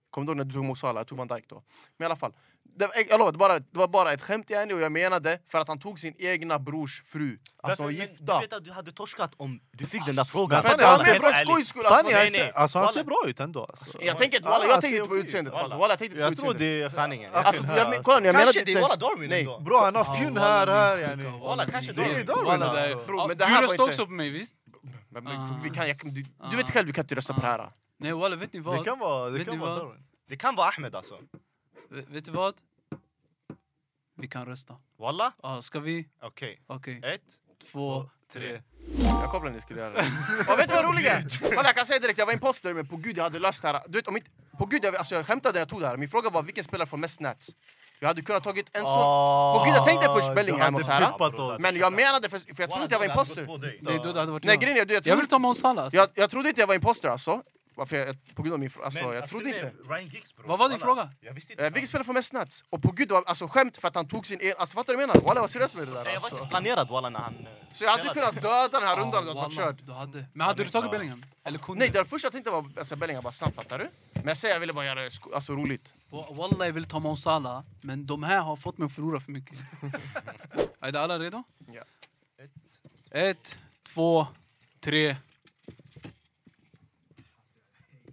Kommer du ihåg när du tog Mosala? Jag tog Van Dijk då. Men i alla fall. Det, var- jag lovar, det, bara, det var bara ett skämt yani och jag menade för att han tog sin egna brors fru. Att de var Men gifta. Du vet att du hade torskat om du fick den där frågan. men Alltså, det var helt mer för ärligt. skojs skull, Sani, alltså. han Nej, nej. ser- alltså han ser Walla. bra ut ändå. Alltså. Jag tänker inte, Ah, walla, han jag tänker ser inte på okej utseendet. ut. Walla, Walla, jag tänker inte på Jag tror utseendet. det är... Sanningen. ja. Alltså, Affen jag, här, men- kolla nu, jag menade Kanske det inte... var Darwin Nej. ändå. Bro, han har fjun här, här yani. Walla, kanske det är Darwin. Walla, det är- Bro, men Ja, det här Du var röstade inte- också på mig, visst? Men, men, Ah. vi kan, jag, kan- du, du Ah. vet själv, du kan inte rösta på det här. Nej walla, vet ni Det vad? kan vara, det Vet kan ni vara vad? Darwin. Det kan vara Ahmed alltså. Vet vet du vad? Vi kan rösta. Walla? Ja, ska vi? Okej. Okej. Ett, Två. tre. Jag kopplade när ni skulle [LAUGHS] göra det. Och vet du vad roligt är? Kolla, jag kan säga direkt, jag var imposter, men på gud jag hade löst det här. Du vet, om inte, på gud, jag, alltså, jag skämtade när jag tog det här. Min fråga var vilken spelare får mest nats? Jag hade kunnat tagit en sån, Åh, gud, jag tänkte först Bellingham Ah, du och hade så här. flippat oss. men jag menade, för, för jag trodde inte jag var imposter. Nej, då det hade varit Nej, jag. grejen är, du, jag, Jag vill trodde, ta Monsala alltså. jag, jag trodde inte jag var imposter alltså. Varför jag, på grund av min fråga, alltså, jag trodde inte. Ryan Giggs, bro. Vad var din Walla, fråga? Jag visste inte. Eh, vilken spelare får mest nats? Och på gud, det var alltså skämt för att han tog sin egen... Alltså fattar du vad jag menar? Walla, jag var seriös med det Nej, där Jag var alltså. inte Ah, planerad walla när han... eh, Så jag hade spelade. kunnat döda den här rundan om jag Ja, hade varit walla, körd. Du hade. Men hade du tagit Bellingham? Eller kunde Nej, det du? var först jag tänkte var alltså, Bellingham bara snabbt, fattar du? Men jag säger jag ville bara göra det sko- alltså, roligt. Wa- Walla, jag vill ta Monsala. Men de här har fått mig att förlora för [LAUGHS] mycket. är det alla redo? Ja. Ett, två, tre.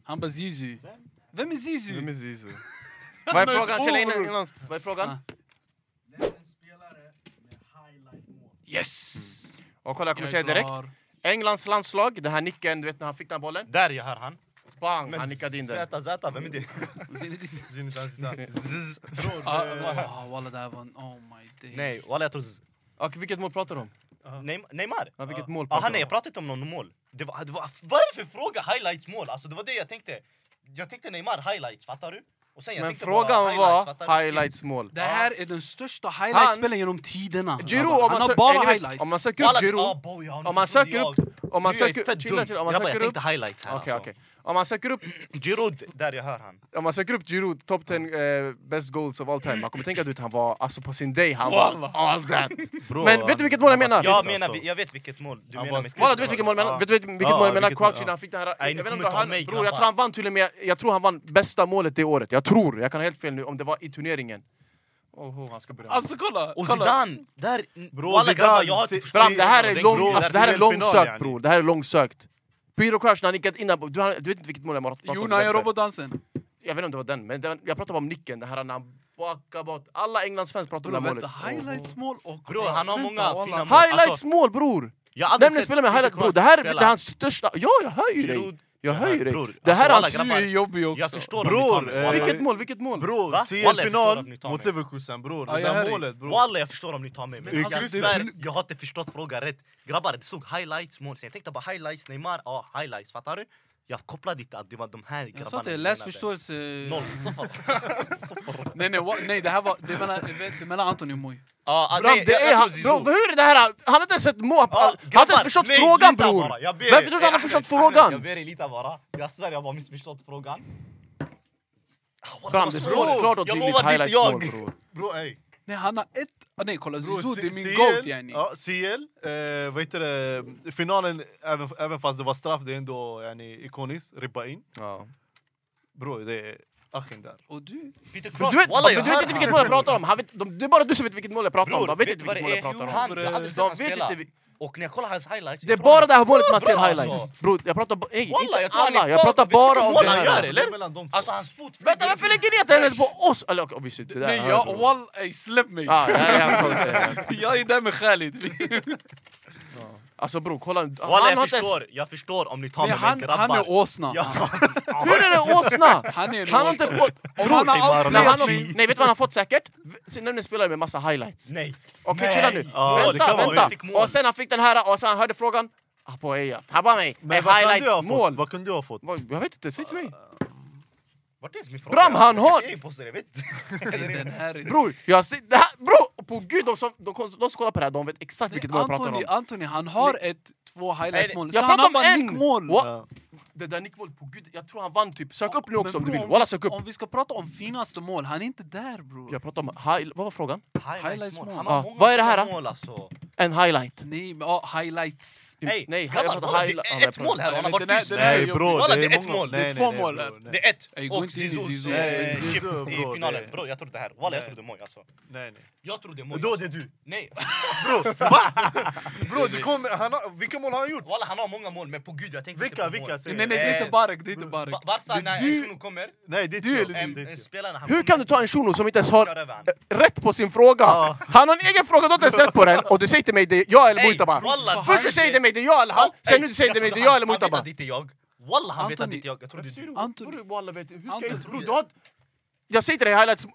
Han bara Zizu. Vem är Zizu? är Zizou? [LAUGHS] Vad är Nej, frågan? två Chilla bror. innan, innan. Vad är frågan? Ah. Nämn en spelare med highlight-mål. Yes! Och kolla, jag kommer Jag säga direkt. drar. Englands landslag, den här nicken, du vet när han fick den här bollen? Där jag hör han. Bang, han nickade in den. Zäta, Zäta, Mm. vem är det? [LAUGHS] Zinedine- Zinedine [LAUGHS] Zidane. Zzz. Ah, ah, Walla, det här var en... Oh my days. Nej, walla jag tror... Zzz. Och vilket mål pratar du om? Neym- Neymar? Ja, vilket mål Ah, pratar han, du nej, om? jag pratade inte om någon mål. Det var, det var, vad är det för fråga? Highlights mål? Alltså, det var det jag tänkte. Jag tänkte Neymar highlights, fattar du? Och sen jag Men tänkte frågan fattar var du? highlights mål. Det här är den största highlightspelaren genom tiderna. Giroud, grabbar. om han man, har sö- bara eh, ni vet, highlights. om man söker Walla, upp Giroud, ah, boy, ja, nu om man trodde söker jag- upp... Om man Du, jag är söker... fett Chilla, dum. chilla. Om man Grabbar, jag söker upp... tänkte highlights här Okej, alltså. okej. Om man söker upp Giroud, där jag hör han. om man söker upp Giroud, top 10 eh, best goals of all time, man kommer tänka att han var, alltså på sin day, han var all that. Bro, Men vet han- du vilket mål jag han var menar? skits, Jag menar, alltså. vi- jag vet vilket mål du Han menar var med skit. Walla, du vet vilket mål jag menar? Vet du vilket Ja, mål jag menar? vilket mål, Crouchy ja. när han fick den här... Nej, ni Jag vet kommer inte om ta han... mig, Bror, jag grabbar. tror han vann till och med... Jag tror han vann bästa målet det året. Jag tror, jag kan ha helt fel nu, om det var i turneringen. Oho, han ska börja. Alltså kolla! Och kolla. Zidane, där... Bro, walla Zidane, grabbar, jag har se- inte Bram, det här är, Den lång, grå- alltså, det här är där är final, långsökt yani. bror, det här är långsökt. Peter Crouch när han nickat in... den- Du, han- du vet inte vilket mål jag pratar om? Jo, det när där. jag robotdansen. Jag vet inte om det var den, men den, jag pratar bara om nicken. Det här när han bakar bort. Alla Englands fans pratar om Bror, det här målet. vänta, highlights mål och... Bror, han har Vänta, många walla. fina mål. Highlights Alltså, mål bror! jag har aldrig Nämligen sett spela med highlights Peter bror, det här Crouch är det hans största... Ja, jag hör ju dig! Giroud, Jag hör ju dig! Bror, Det här alltså, är walla, Du är grabbar, jobbig också. Jag förstår Bror, om ni tar eh, mig. Vilket Vilket mål, vilket mål! Bro, Va? Walla, jag förstår att ni CL-final tar mot mig. Leverkusen bror. Ja, Det jag hör där dig. målet bror. Walla jag förstår om ni tar mig, men Exakt. jag svär, jag har inte förstått frågan rätt. Grabbar, det stod highlights, mål. Så jag tänkte bara highlights, Neymar, ja highlights, fattar du? Jag kopplade inte att det var de här grabbarna. Jag sa att det är ni läsförståelse... menade. Noll, [LAUGHS] soffa. [LAUGHS] Nej, nej, wa- nej, det här var... Det är mellan, det är mellan Anton och Moj. Ja, Bram, det är han, bro, hur är det här? Han har inte ens sett mål, han har inte ens förstått frågan bror! Varför tror du han har förstått [LAUGHS] Jag frågan? ber dig lita bara. Jag svär, jag har missförstått frågan. Ah, Bram, walla, det vad står svårt. klart och Jag tydligt lovar, det är inte highlights mål jag. bror. Bro, ey. Nej, han har ett... Ah, nej, kolla, Bro, Zizou, det är C- min CL, GOAT yani. Ja, CL, eh, vad heter det, finalen, även, även fast det var straff, det är ändå yani, ikoniskt, ribba in. Ja. Bro, det är Achen där. Och du? Peter Men Crouch, Du vet, walla, men jag du vet hör inte han. vilket mål jag pratar om, han vet, de, det är bara du som vet vilket mål jag pratar om, Bror, de vet inte vilket mål jag är? pratar om. Han, jag har aldrig sett De han vet spela. inte vi- Och när jag kollar hans highlights... Det är jag tror bara han- det här målet man Bra, ser alltså. highlights. Bror, jag pratar bara, ej, Walla, jag inte tror han är alla, jag kvar. pratar Vet du vilket bara om mål det han här. gör, Alltså, eller? det är mellan de två. Alltså hans fot... Vänta, varför lägger ni inte hennes på oss? Eller okej, obviously, det där Nej, hör jag... bror. Walla, ey, släpp mig! Ja, ja, Ah, ja, jag kollar inte. [LAUGHS] Jag är där med [LAUGHS] Khalid. Alltså bror, kolla. Han Walla, har jag inte ens- förstår. Jag förstår om ni tar Nej, mig, han, men han är grabbar... åsna. Ja. Hur är det åsna? Han är en Han har åsna. inte fått... Om han Bror, har nej, han outplayat har, mig... nej, vet du vad han har fått säkert? Sen nämligen spelare med massa highlights. Nej. Okej, Nej. chilla nu. Ja, det vänta, kan vara- vänta. jag fick mål. Och sen han fick den här, och sen han hörde frågan. Ah, på Eja, tabba mig. vad Men kunde jag ha highlights, fått? mål. Vad kunde jag ha fått? Vad- Jag vet inte, säg till mig. Vart är ens min fråga? Bram, han Jag har- är imposter, jag vet inte. Nej, den här är... Bror, jag ser... Det här, bror! På gud, de som, de, de som kollar på det här, de vet exakt vilket mål jag pratar om. Antoni, Antoni, han har ett, två highlights-mål. Jag Så han pratar har om bara en! nickmål. What? Ja. Det där nickmålet, på gud, jag tror han vann typ. Sök upp nu också Men om du bror, vill. Walla, vi- sök upp. Om vi ska prata om finaste mål, han är inte där bror. Jag pratar om... High, vad var frågan? Highlights-mål. Highlights-mål. Han Ja, har många vad är det här, mål alltså. En highlight. Nej, men ja, highlights. Hey, nej, grabbar, jag pratar vad- highlight- ett- ja, jag Ett mål här, pratar- han Nej, har men varit den här- tyst. den här- Nej jag- bror, Walla, det det är är ett många- mål. Det är Nej, två nej, nej, mål bror, här. nej. Det är ett! Ey, gå Och inte in i Zizous Zizou. Nej, eh, Zizou, chip bro, i det- finalen. Bror, jag trodde det här. Walla, jag Nej. trodde Moj alltså. Nej, nej. Jag trodde Moj. Då är alltså. det du. Nej, Bror, va? Bror, du kommer... han har- Vilka mål har han gjort? walla han har många mål, men på gud jag tänkte Vilka, inte på vilka? mål. Säg. Nej, nej, det Eh, är inte Barek. Det är inte Barek. Ba- Barca, Det- när du- Shuno kommer, Nej, det är Du inte eller jag. en, Det är inte en spelare... Han Hur kan du ta en shuno som inte ens har eh, Kör över han. rätt på sin fråga? Ja. Han har en egen fråga, du har inte ens rätt på den! Och du säger till mig det är jag eller Ey, Mujtaba! wallah, Först du han- säger till mig det är jag eller han, sen nu du säger till mig det är jag eller Han vet Mujtaba! att det inte är jag. Walla han vet att Anthony- det inte är jag. Jag trodde det är du. Anthony. Bror, wallah, vet du, hur ska Anthony. jag- bror, du har- Jag säger till dig highlights...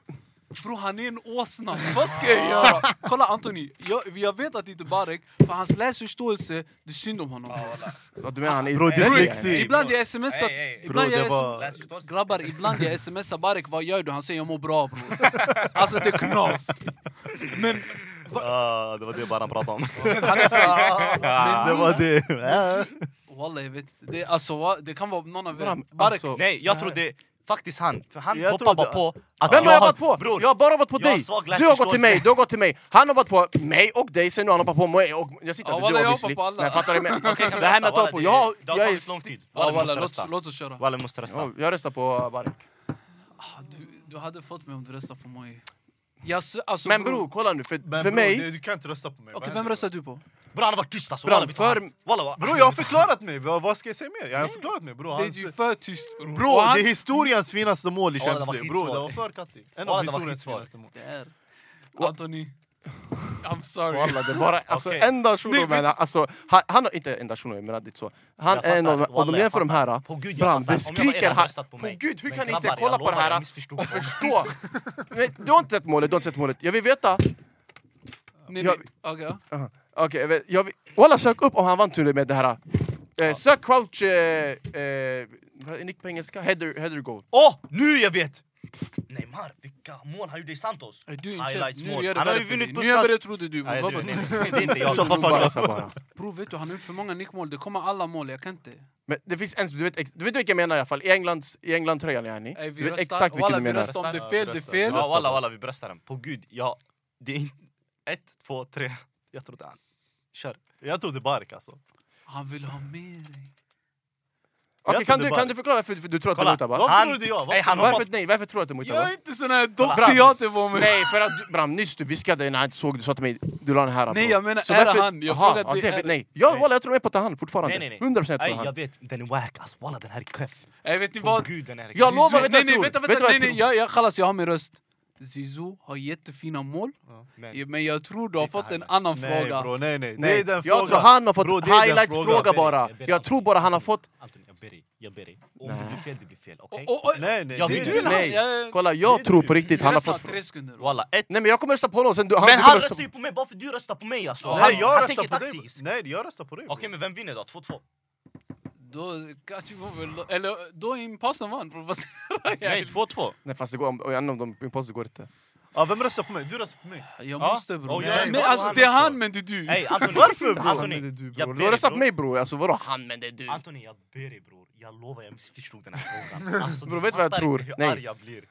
Bro, han är en åsna. Vad ska jag [LAUGHS] göra? Kolla Anthony, jag, jag vet att det inte är Barek, för hans läsförståelse, det är synd om honom. Ja, Du menar han är Bror, dyslexi. dyslexi. Ibland bror. jag smsar... Ey, ey, ey. Ibland Bro, jag det var- sm- Läsförståelse. Grabbar, ibland jag smsar Barek, vad gör du? Han säger jag mår bra bror. Alltså det är knas. Men Ah, det var det bara han pratade om. han är så... Det Men, var det. Wallah, jag vet det, är- alltså, va- det kan vara någon av er. Bram, Barek, alltså, Nej, jag trodde faktiskt han. För han Jag hoppade bara trodde- på att Vem har jag hade- varit på? Bror, jag har bara varit på jag har dig! svag Du har gått läsförståelse. till mig, du har gått till mig! Han har varit på mig och dig, sen nu har han hoppat på mig och... Jag sitter Ja, inte wallah, du jag obviously. hoppar på alla. Men fattar du? med- [LAUGHS] Okej, kan vi Det rösta? här med att Walla, hoppa på... det- Jag, Det har jag tagit lång är... tid. ja, Walla, vi wallah, måste låt, rösta. låt oss köra. Walla, vi måste rösta. Ja, Jag röstar på Barek. Ah, Du, du hade fått mig om du röstade på mig. Jag, s- alltså, Men bror. bror, kolla nu, för, Men för bror, mig... det- Du kan inte rösta på Okej, mig. Vad vem händer? röstar du på? Bror, han har varit tyst alltså. Bram, Walla, vet du vad för- han- Walla, walla. Bror, jag har förklarat mig. Vad vad ska jag säga mer? Jag har förklarat mig, bror. Det Han- är ju för tyst bror. Bro, Och han- det är historiens finaste mål i Ja, det var Champions League. Bro, skitsvårt. det var för kattig. En Ja, av det var historiens skitsvårt. finaste mål. Det är... Anthony, I'm sorry. Walla, det är bara... Alltså, Okej. enda shunon Nej, vet menar... Alltså, han, han har inte enda shunon, jag menar det är så. Han Jag är en av... fattar, Och de wallah, jämför jag de här... På gud, jag Bram, fattar. det Om jag var er skriker hade här... röstat på På mig. gud, hur Men kan ni grabbar, inte jag kolla på lovar, det här jag och missförstod folk. förstå? Men Du har inte sett målet, du har inte sett målet. Jag vill veta... Nej, Jag- nej. Okej, ja. Aha. Okej, jag vet- jag vill... Walla, sök upp om han vann turneringen med det här... Eh, sök crouch... Eh, eh, vad är nick på engelska? Header, header goal. Åh, nu jag vet! Neymar, vilka mål han gjorde i Santos! Nej, Du är inte Highlights köpt. Nu mål. gör det Han har bättre ju för dig. vunnit Nu på jag skans... börjar tro det är du. Nej, det Baba, är nej. inte- det är inte Jag jag. hoppas bara, jag bara. Bror, vet du, han har gjort för många nickmål. Det kommer alla mål, jag kan inte. Men det finns en, du vet, ex- du vet vilka jag menar i alla fall, i Englands, i England-tröjan yani. Ey, Du vet exakt vilken Walla, du vi menar. röstar om det är fel, Ja, vi det är röstar. fel. Ja, walla, walla, vi bröstar den. På gud, ja. Det är inte... Ett, två, tre. Jag trodde han... Kör. Jag trodde Bark alltså. Han vill ha med dig. Okej, Jag kan, trodde du, bara- kan du förklara varför du tror att det Kolla, är Mutaba? Varför Han- trodde jag? Ey, Varför? han Varför, hoppade... nej, varför tror du att det är Mutaba? Gör inte sån här Bram. dockteater på mig! Nej, för att du, Bram, nyss du viskade när jag inte såg du sa till mig, du la den här. Nej, bro. jag menar, Så är det varför- han? Jag Aha, frågar ja, dig, är det, det- nej. Ja, Nej. walla, jag tror de är på att det är han fortfarande. Nej, nej, nej. 100% tror Ey, jag han. jag vet, den är wack alltså. Walla, den här är keff. Ey, vet ni På vad? gud, den här är Jag keff. lovar, vet du nej, vad jag nej, tror? vänta, Vet du vänta, vad nej, jag nej, jag, jag, kallas, jag har min röst. Zizou har jättefina mål, Men- men jag tror du har Lite fått en highlight. annan Nej fråga. bro, nej nej. Det Nej, är den jag frågan. tror han har fått Bro, det är den highlights-fråga frågan. bara. Jag ber- Jag tror bara han har fått... Anthony, jag ber dig. Jag ber dig. Om det blir fel, det blir fel. Okej? Och- och- och- Nej nej. Jag det är vill- den. Du, Nej. jag- Kolla, Det jag är tror du. på riktigt han har Rösta fått... tre sekunder. Walla, ett. Nej, men jag kommer rösta på honom sen. Du, han, Men du kommer han rösta röstar ju på mig bara för du röstar på mig alltså! Ja, Han- Nej jag han röstar tänker på dig. bro. taktiskt. Nej jag röstar på dig. bro. Okej, men vem vinner [LAUGHS] då? 2-2? Då kanske vi får väl... Eller då är impostern vann bror, vad ska jag göra? Nej, 2-2. Nej, fast det går... om- om- om de imposter går inte. Ja, vem röstar på mig? Du röstar på mig. Jag Ja. måste bror. Och jag men röstar på alltså han det är också. han men det är du. [LAUGHS] Ey, Anthony. Varför, bror? Han, Anthony, men det är du, jag bror. ber Du dig, har röstat på bror. mig, bror. Alltså, vadå han, men det är du? Anthony, jag ber dig bror. Jag lovar, jag missförstod [LAUGHS] den här frågan. Alltså, du Bror, vet du vad jag fattar tror? inte hur Nej. arg jag blir.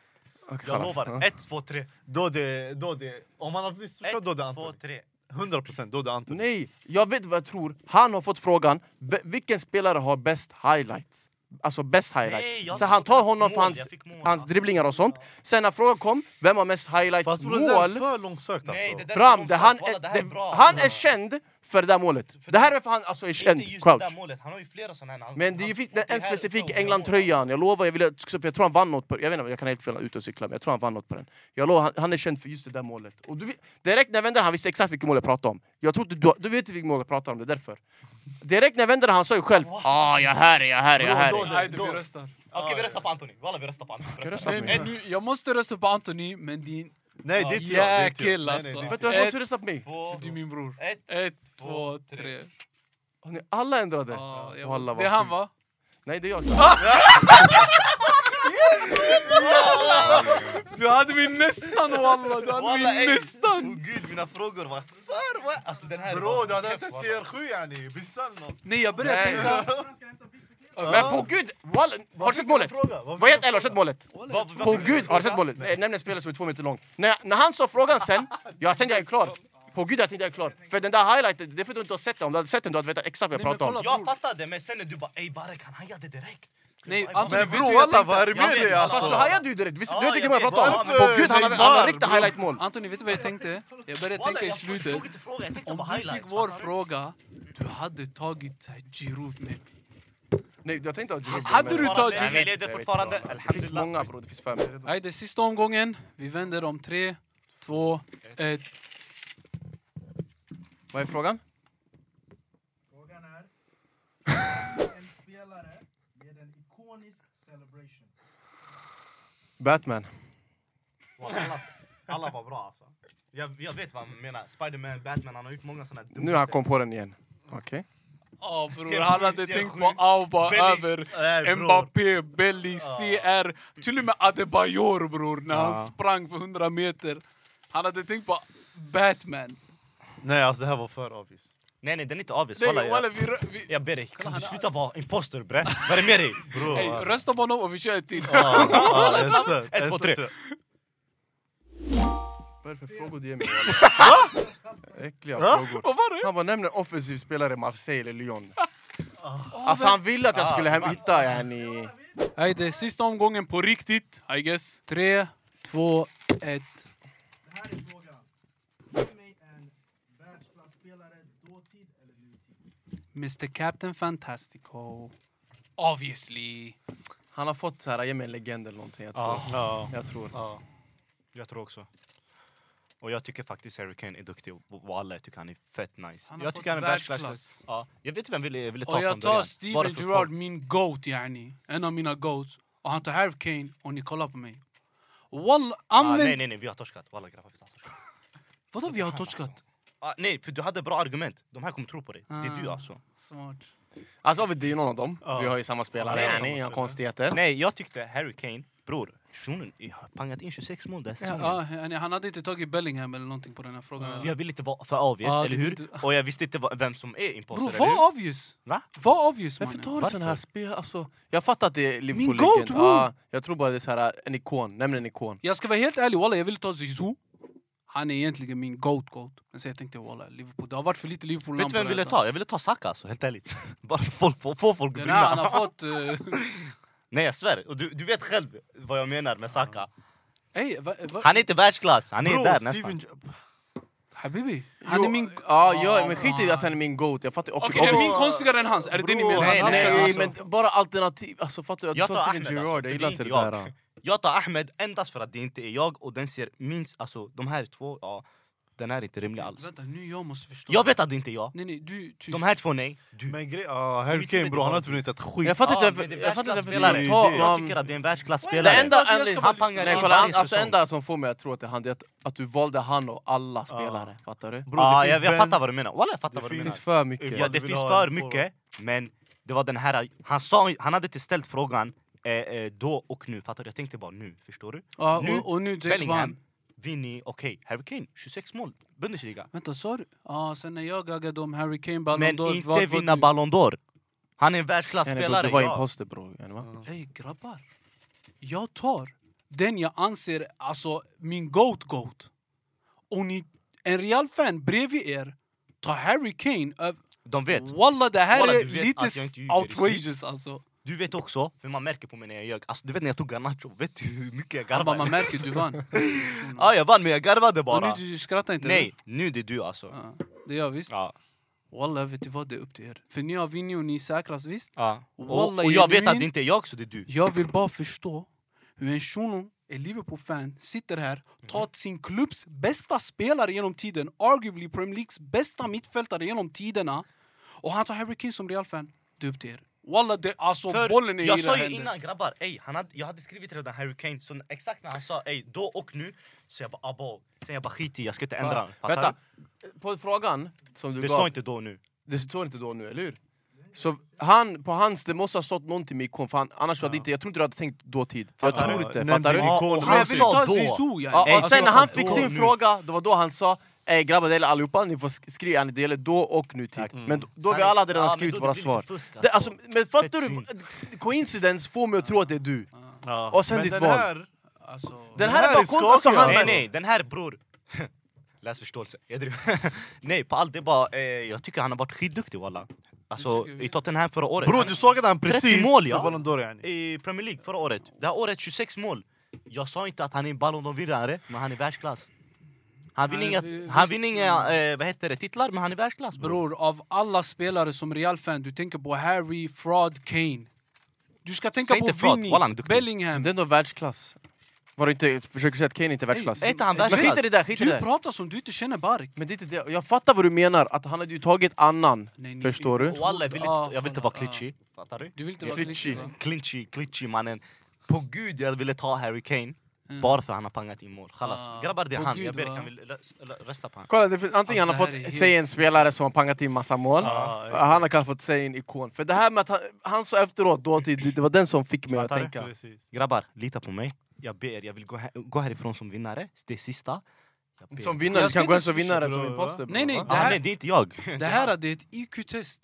Okej, Jag خلاص. lovar. Ja. 1, 2, 3. Då det, då det. Om man har missförstått då det är 1, 2, Anthony. 3. 100 procent, då det är Anthony. Nej, jag vet vad jag tror. Han har fått frågan, v- vilken spelare har bäst highlights? Alltså bäst Nej, highlights. jag Så han tar honom fick för mål, hans, jag fick mål, hans va? dribblingar och sånt. Sen när frågan kom, vem har mest highlights? Fast bror, det där är mål? för långsökt alltså. Nej, det där Bram, är det långsamt. han, Walla, är, det här är det- bra. han Walla. är känd för det där målet. För det här det- är för han alltså är känd. Inte just det Crouch. där målet, han har ju flera såna här... Men det är han ju finns får en här specifik och så. England-tröjan. Jag lovar, jag, vill, för jag tror han vann något på Jag vet inte, jag kan helt fel ute och cykla, men jag tror han vann något på den. Jag lovar, han, han är känd för just det där målet. Och du, vet- direkt när jag vände den, han visste exakt vilket mål jag pratade om. Jag tror inte du, du vet vilket mål jag pratar om, det är därför. Direkt när jag vände den, han sa ju själv ah, jag är här, jag är här, jag är här. Bro, då- Nej, det vi Då- röstar. Okej, vi röstar på Anthony. Walla, vi röstar på Anthony. Vi röstar Nej, på mig. men nu, jag måste rösta på Anthony, men din... Nej, det är inte jag. det är inte jag. Jäkel Nej, nej, alltså. det är Vet inte du varför han skulle rösta på mig? Två, För du är min bror. ett. Ett, två, två, tre. tre. Har ni alla ändrade? Ja, jag- Walla, vad det är han Ah! sjukt. va? Nej, det är jag. Du hade mig nästan walla, du hade Walla, mig ey. Åh nästan! gud, mina frågor var för... Vad? Alltså den här... Bro, var- du hade inte Walla. CR7 yani. Bissan. Nej jag började Nej. tänka... Men på gud, walla, har du sett målet? Vad heter eller har du sett målet? Walla, Vad- jag- vad- [LAUGHS] På gud, har du sett målet? Eh, Nämn en spelare som är två meter lång. När, när han sa frågan sen, jag kände jag är klar. På gud att inte jag är klar. För den där highlighten, det är för att du inte har sett den. Om du hade sett den du hade vetat exakt vad jag Nej, men pratar om. kolla. Jag fattade, men sen när du bara ey Barek, han hajade direkt. Nej, Men Anthony, Men vet du, bror jag walla, tänkte- vad är det Jag med vet, dig alltså. Fast du alltså? hajade ju direkt. Visst, Ja, du vet inte jag vad jag vet. pratar om. Varför? På gud, han hade- han hade Neymar, riktigt bror. highlightmål. Anthony, vet du vad jag tänkte? Jag började Walla, tänka i jag slutet. förstod inte frågan, jag tänkte Om på du highlights. fick vår fattar du? fråga, du hade tagit så här Giroud med. Nej, jag tänkte att Giroud- Hade du men- tagit- Jag vet Vi inte, leder jag vet fortfarande, inte. Det finns alhamdulillah. många bror, det finns fem. Nej, det är sista omgången. Vi vänder om tre, två, ett. Vad är frågan? Frågan är, en spelare med en ikonisk celebration. Batman. Walla, Alla, alla var bra alltså. Jag, jag vet vad han menar. Spiderman, Batman, han har gjort många såna här dumma Nu han steg. kom på den igen. Okej. Ja bror, Ser han sjukt, hade ser tänkt på sjukt. Auba Belly- över Nej, bror. Mbappé, Belly, CR, till och med Adebayor bror när Ja. han sprang för 100 meter. Han hade tänkt på Batman. Nej alltså det här var för obvious. Nej nej, den är inte obvious. Nej, Walla, walla, jag, vi, rö- vi, jag ber dig, kan han du har- sluta vara imposter bre? [LAUGHS] Vad är det med dig? Bror. ey, rösta på honom och vi kör ett till. [LAUGHS] alltså. Ja, ja, det är Snabbt. sött, det är Ett, två, sött, tre. det. Vad är det för frågor du ger mig? [LAUGHS] Äckliga Va? frågor. Vad var det? Han bara nämner offensiv spelare i Marseille eller [LAUGHS] Lyon. Åh, Alltså han ville att jag skulle hem, hitta yani... Nej, det är sista omgången på riktigt, I guess. Tre, två, ett. Det här är frågan. Ge mig en världsklasspelare dåtid eller nutid. Mr Captain Fantastico. Obviously. Han har fått så här, ge mig en legend eller någonting. Jag tror. Ja, ja, Jag tror. ja. Jag tror också. Och jag tycker faktiskt Harry Kane är duktig och Walla jag tycker han är fett nice. Han har jag fått tycker han är världsklass. världsklass. Ja, jag vet vem jag ville, ville ta Och jag från början. tar Bara Steven för Gerrard, folk. min GOAT yani. En av mina GOATs. Och han tar Harry Kane och ni kollar på mig. Walla, Ah, använd... nej nej nej, vi har torskat. Walla grabbar, vi har torskat. Vadå vi har torskat? Ah, nej, för du hade bra argument. De här kommer tro på dig. Det är du Ah. alltså. Smart. Alltså det är ju någon av dem. Ja. Vi har ju samma Ja, spelare det är yani, samma inga spelare. konstigheter. Nej, jag tyckte Harry Kane, bror, shunon, jag har pangat in 26 mål den här säsongen. Ja, ja, han hade inte tagit Bellingham eller någonting på den här frågan. Så jag ville inte vara för obvious, Ja, eller du hur? vill inte- Och jag visste inte vad- vem som är imposter, Bror, eller hur? var obvious! Va? Var obvious Varför mannen! tar du Varför? sån här spel? Alltså, jag fattar att det är Liverpool goat, legend. bro. Ja, jag tror bara det är så här, eh, en ikon. Nämn en ikon. Jag ska vara helt ärlig, walla jag ville ta Zizou. Han är egentligen min GOAT-GOAT. Men sen jag tänkte walla, Liverpool. Det har varit för lite Liverpool Vet du vem jag ville redan. ta? Jag ville ta Saka alltså, helt ärligt. [LAUGHS] Bara folk, få, få folk att Den här, han brinna. har fått... eh, [LAUGHS] Nej jag svär, och du, du vet själv vad jag menar med Saka. Ey, va, va, Han är inte världsklass, han är Bror, där Steven nästan. Jo- Habibi, han är Jo, min... Ja, ja, men skit i att han är Ah. min goat. Jag fattar. och- Okej, är obvious- min konstigare än hans? Är det det ni Bror, menar? nej, Han- Nej, nej, alltså. men bara alternativ. Alltså fattar du? Jag Jag tar tar Steven Ahmed, alltså, Gerrard. för Jag det gillar är inte det inte jag. där. ah. Jag tar Ahmed endast för att det inte är jag och den ser minst, alltså de här två, ja, den här är inte rimlig alls. Vänta, nu jag måste förstå. Jag vet att det inte är jag. Nej, nej, du... Tyst. De här två nej. Du. Men grejen, ah, Harry Mycket bättre Kane bror han har val. inte vunnit ett skit. Jag fattar Ja, inte. men det är Jag fattar inte. världsklasspelare. varför- Det är Ta- Jag man- tycker att det är en världsklasspelare. Det enda Jag ska anledningen... bara Han pangar Nej, in kolla, varje han, alltså säsong. enda som får mig att tro att det är han, det är att, att du valde han och alla spelare. Fattar du? Bror, det Ja, finns jag, jag Benz. fattar vad du menar. Walla, jag fattar Det vad finns du Det menar. finns för mycket. Ja, Ifall det du vill finns ha för en mycket, forward. men det var den här... Han, sa, han hade inte ställt frågan eh, eh, då och nu. Fattar du? Jag tänkte bara nu. Förstår du? Ja, Nu- och, och nu tänker Bellingham, man... Vinny, okej. Harry Kane, 26 mål. Bundesliga. Vänta, sa du? Ja, sen när jag gaggade om Harry Kane, Ballon Men d'Or... inte vad- vad vinna du- Ballon d'Or. Han är en Nej, nej, bror, världsklasspelare. Du var ja. imposter bror. Ja, Mm. va? Ey grabbar, jag tar den jag anser, alltså min GOAT-GOAT. Och ni, en real fan bredvid er, tar Harry Kane över... De vet. Walla det här Walla, är du vet lite att jag inte ljuger, outrageous alltså. Du vet också, för man märker på mig när jag ljög. Alltså, du vet när jag tog Garnacho, vet du hur mycket jag Grabbar, man garvade? märker du [LAUGHS] vann. Ja, jag vann men jag garvade Och bara. nu du skrattar inte? Nej, nu det är du alltså. Ja, det gör jag visst. Ja. Walla vet du vad, det är upp till er. För ni har vunnit och ni är säkrast visst. Ja. Och, Walla, och jag vet genuin. att det inte är jag så det är du. Jag vill bara förstå hur en shuno, en Liverpool-fan, sitter här, Mm. tar sin klubbs bästa spelare genom tiden, arguably Premier Leagues bästa mittfältare genom tiderna, och han tar Harry Kane som Real-fan. Det är upp till er. Walla, det, alltså För bollen är i jag era sa ju händer. innan grabbar, ey, han hade, jag hade skrivit redan Harry Kane, så exakt när han sa ey, då och nu, så jag bara abo. Sen jag bara skit i, jag ska inte ändra den. Fattar Vänta. du? På frågan som du Det gav... står inte då och nu. Det står inte då nu, eller hur? Så han, på hans, det måste ha stått någonting med ikon, för han, annars hade inte, jag tror inte du hade tänkt dåtid. För jag Fattar tror du? inte, Nej, fattar men- du? Ja, och och Jag han vill sa ta då! Zizou, yani. Ja, och Alltså, sen när han då fick och sin nu. fråga, det var då han sa Ey grabbar, det gäller allihopa, ni får sk- skriva, yani, det gäller då och nutid. Men då, då vi alla hade redan Mm. Ja, men skrivit då våra det blir svar. lite fusk, Det, alltså. alltså, men fattar Fett du? Coincidence får mig att tro att det är du. Ja. Och sen Men ditt den val. här- alltså, Den här är bara skakig, kon- alltså, han, [LAUGHS] Nej nej, den här bror. Läsförståelse. Jag driver. [LAUGHS] Nej, på allt. Det är bara, eh, jag tycker han har varit skitduktig walla. Alltså, Du tycker- i Tottenham förra året. Bror han, du sågade han 30 precis mål, ja. för Ballon d'Or yani. I Premier League förra året. Det här året 26 mål. Jag sa inte att han är en Ballon d'Or-vinnare, men han är världsklass. Han vinner Han är- inga, han visst, vinner inga eh, vad heter det, titlar, men han är världsklass. Bro. Bror, av alla spelare som Real-fan, du tänker på Harry, Fraud, Kane. Du ska tänka Säg på inte Fraud, Vinny, Wallan, duktig. Bellingham. Det är ändå världsklass. Var du inte, försöker säga att Kane inte är världsklass? Är inte han Men skit världsklass? i det där, skit i det Du där. pratar som du inte känner Bark. Men det är inte det. Jag fattar vad du menar, att han hade ju tagit annan. Nej, ni- Förstår du? Walla, jag vill Ah, inte, jag vill inte vara ah. klitschig. Fattar du? Du vill inte Jag vara vill- glitchig, va? Clinchy, clinchy mannen. På gud jag ville ta Harry Kane. Bara för han har pangat in mål. Chalas. Ah, Grabbar det är på han. gud, jag ber va? kan vi lö- lö- rösta på han. Kolla, det finns, antingen Alltså, han det har här är fått helt säga en spelare som har pangat in massa mål, Ja, och han har kanske fått säga en ikon. För det här med att han, han sa efteråt, dåtid, det var den som fick mig att Fattar du? tänka. Precis. Grabbar, lita på mig. Jag ber, jag vill gå, här, gå härifrån som vinnare. Det är sista. Jag ber. Som vinnare, Jag du ska kan gå hem inte som vinnare som swisha, imposter. bro, Nej, nej, ah, Det här- nej, det är inte jag. [LAUGHS] Det här det är ett IQ-test.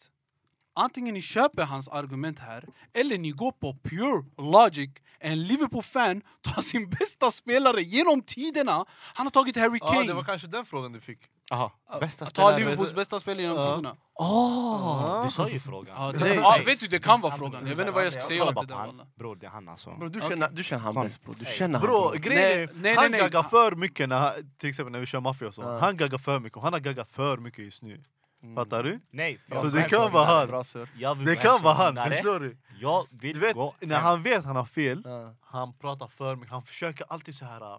Antingen ni köper hans argument här, eller ni går på pure logic. En Liverpool-fan tar sin bästa spelare genom tiderna. Han har tagit Harry Ja, Kane. det var kanske den frågan du fick. Aha, Att- bästa att Ah, ta spelare. Liverpools bästa spelare genom Ja. tiderna. Åh, Du sa ju frågan. Ja, Nej. det, ja, vet du, det kan vara frågan. Jag vet inte vad jag ska säga Kolla åt bara det på där. han. wallah. Bror, det är han alltså. Bro, du känner, du känner han Fan. bäst bro. Du Ey. känner han. Bro, bro. Nej, grejen nej, är, han nej. gaggar för mycket när, till exempel när vi kör maffia och så. Ja. Han gaggar för mycket och han har gaggat för mycket just nu. Mm. Fattar du? Nej, Bra Så jag alltså, det sir. vill- kan vara han. Bra sir. Jag vill Det gå kan hem vara som han, vinnare. förstår du? Jag vill Du vet, gå när hem. han vet han har fel, Ja. han pratar för mycket. Han försöker alltid så här äh,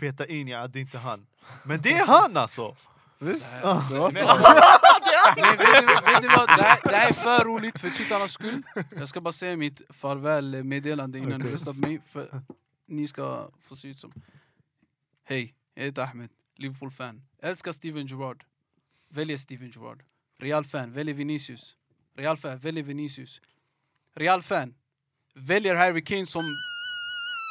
peta in, ja det är inte han. Men det är han alltså! Det var så. Men vet du, vet du vad? Det här, det här är för roligt för tittarnas skull. Jag ska bara säga mitt farvälmeddelande innan ni röstar på mig. För ni ska få se ut som... Hej, jag heter Ahmed, Liverpool-fan. Älskar Steven Gerrard. Väljer Steven Gerrard. Real-fan, väljer Vinicius. Real-fan, väljer Vinicius. Real-fan, väljer Harry Kane som...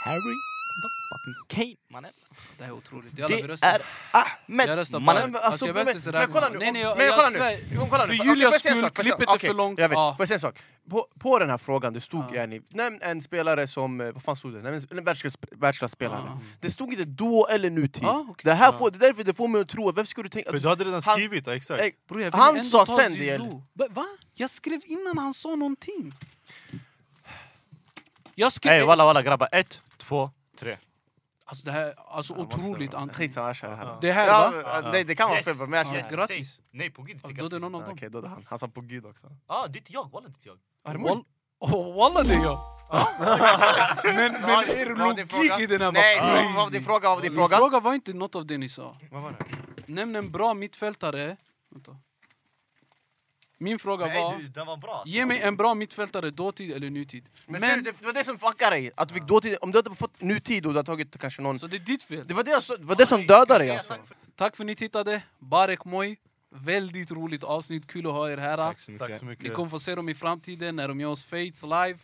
Harry the fucking Kane, mannen. Det här är otroligt. Jalla, vi Det röstar. är Ahmed, Jag röstar på mannen. det. Men, Alltså, alltså, jag men, vet inte men, så där. kolla nu, Nej, nej, jag- men jag kolla nu. svär- Jo, kolla nu. För Okej, Julias får jag säga en skull, sak? Får jag säga- klippet är för okej, långt. Jag vet, Ja. får jag säga en sak? På, på den här frågan, det stod Ja. yani, nämn en spelare som, eh, vad fan stod det? Nämn en- en världsklass- världsklasspelare. Ja. Det stod inte då eller nutid. Ja, okej. Det här Ja. får, det är därför det får mig att tro, varför skulle du tänka... För du hade redan Han- skrivit, ja, exakt. Ey, Bror, jag vill Han ändå sa ta sen Zizou. det gäller. Va- Va? Jag skrev innan han sa någonting. Jag skrev... Ey walla walla grabbar, ett, två, tre. Alltså det här, alltså Jag måste- otroligt Anthony. Skitsamma, jag kör det här. Det här Ja, va? eh, Nej, det kan vara fel, men jag kör Yes. det här. Grattis. Nej på gud, Då är det inte någon av Ja, dem. Okej, då är det han. Han sa på gud också. Ja, det är inte jag, walla det är inte jag. Wall- Åh, Walla det är jag! [LAUGHS] Men, men Vad- är det vad var din fråga? logik i den här Nej, var vad var din crazy. fråga? Vad var din Min fråga? fråga var inte något av det ni sa. Vad var det? Nämn en bra mittfältare. Vänta. Min fråga Nej, var, du, den var bra. alltså. ge mig en bra mittfältare dåtid eller nutid. Men, ser du, Men, det, det var det som fuckade dig. Att du fick dåtid, om du hade fått nutid och du hade tagit kanske någon... så det är ditt fel. Det var det, jag sa- det, var det som dödade dig alltså. Tack för att ni tittade. Barek Moy. Väldigt roligt avsnitt. Kul att ha er här. Tack så mycket. Tack så Ni mycket. kommer få se dem i framtiden när de gör oss fates [LAUGHS] live.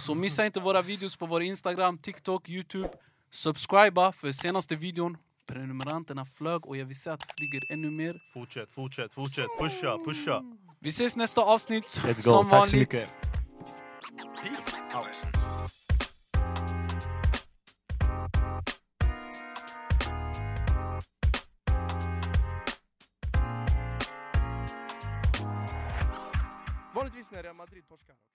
Så missa inte våra videos på vår Instagram, TikTok, Youtube. Subscriba för senaste videon. Prenumeranterna flög och jag vill se att det flyger ännu mer. Fortsätt, fortsätt, fortsätt. Pusha, pusha. Vi ses nästa avsnitt som Let's go, tack så vanligt. mycket. Vanligtvis när Real Madrid torskar.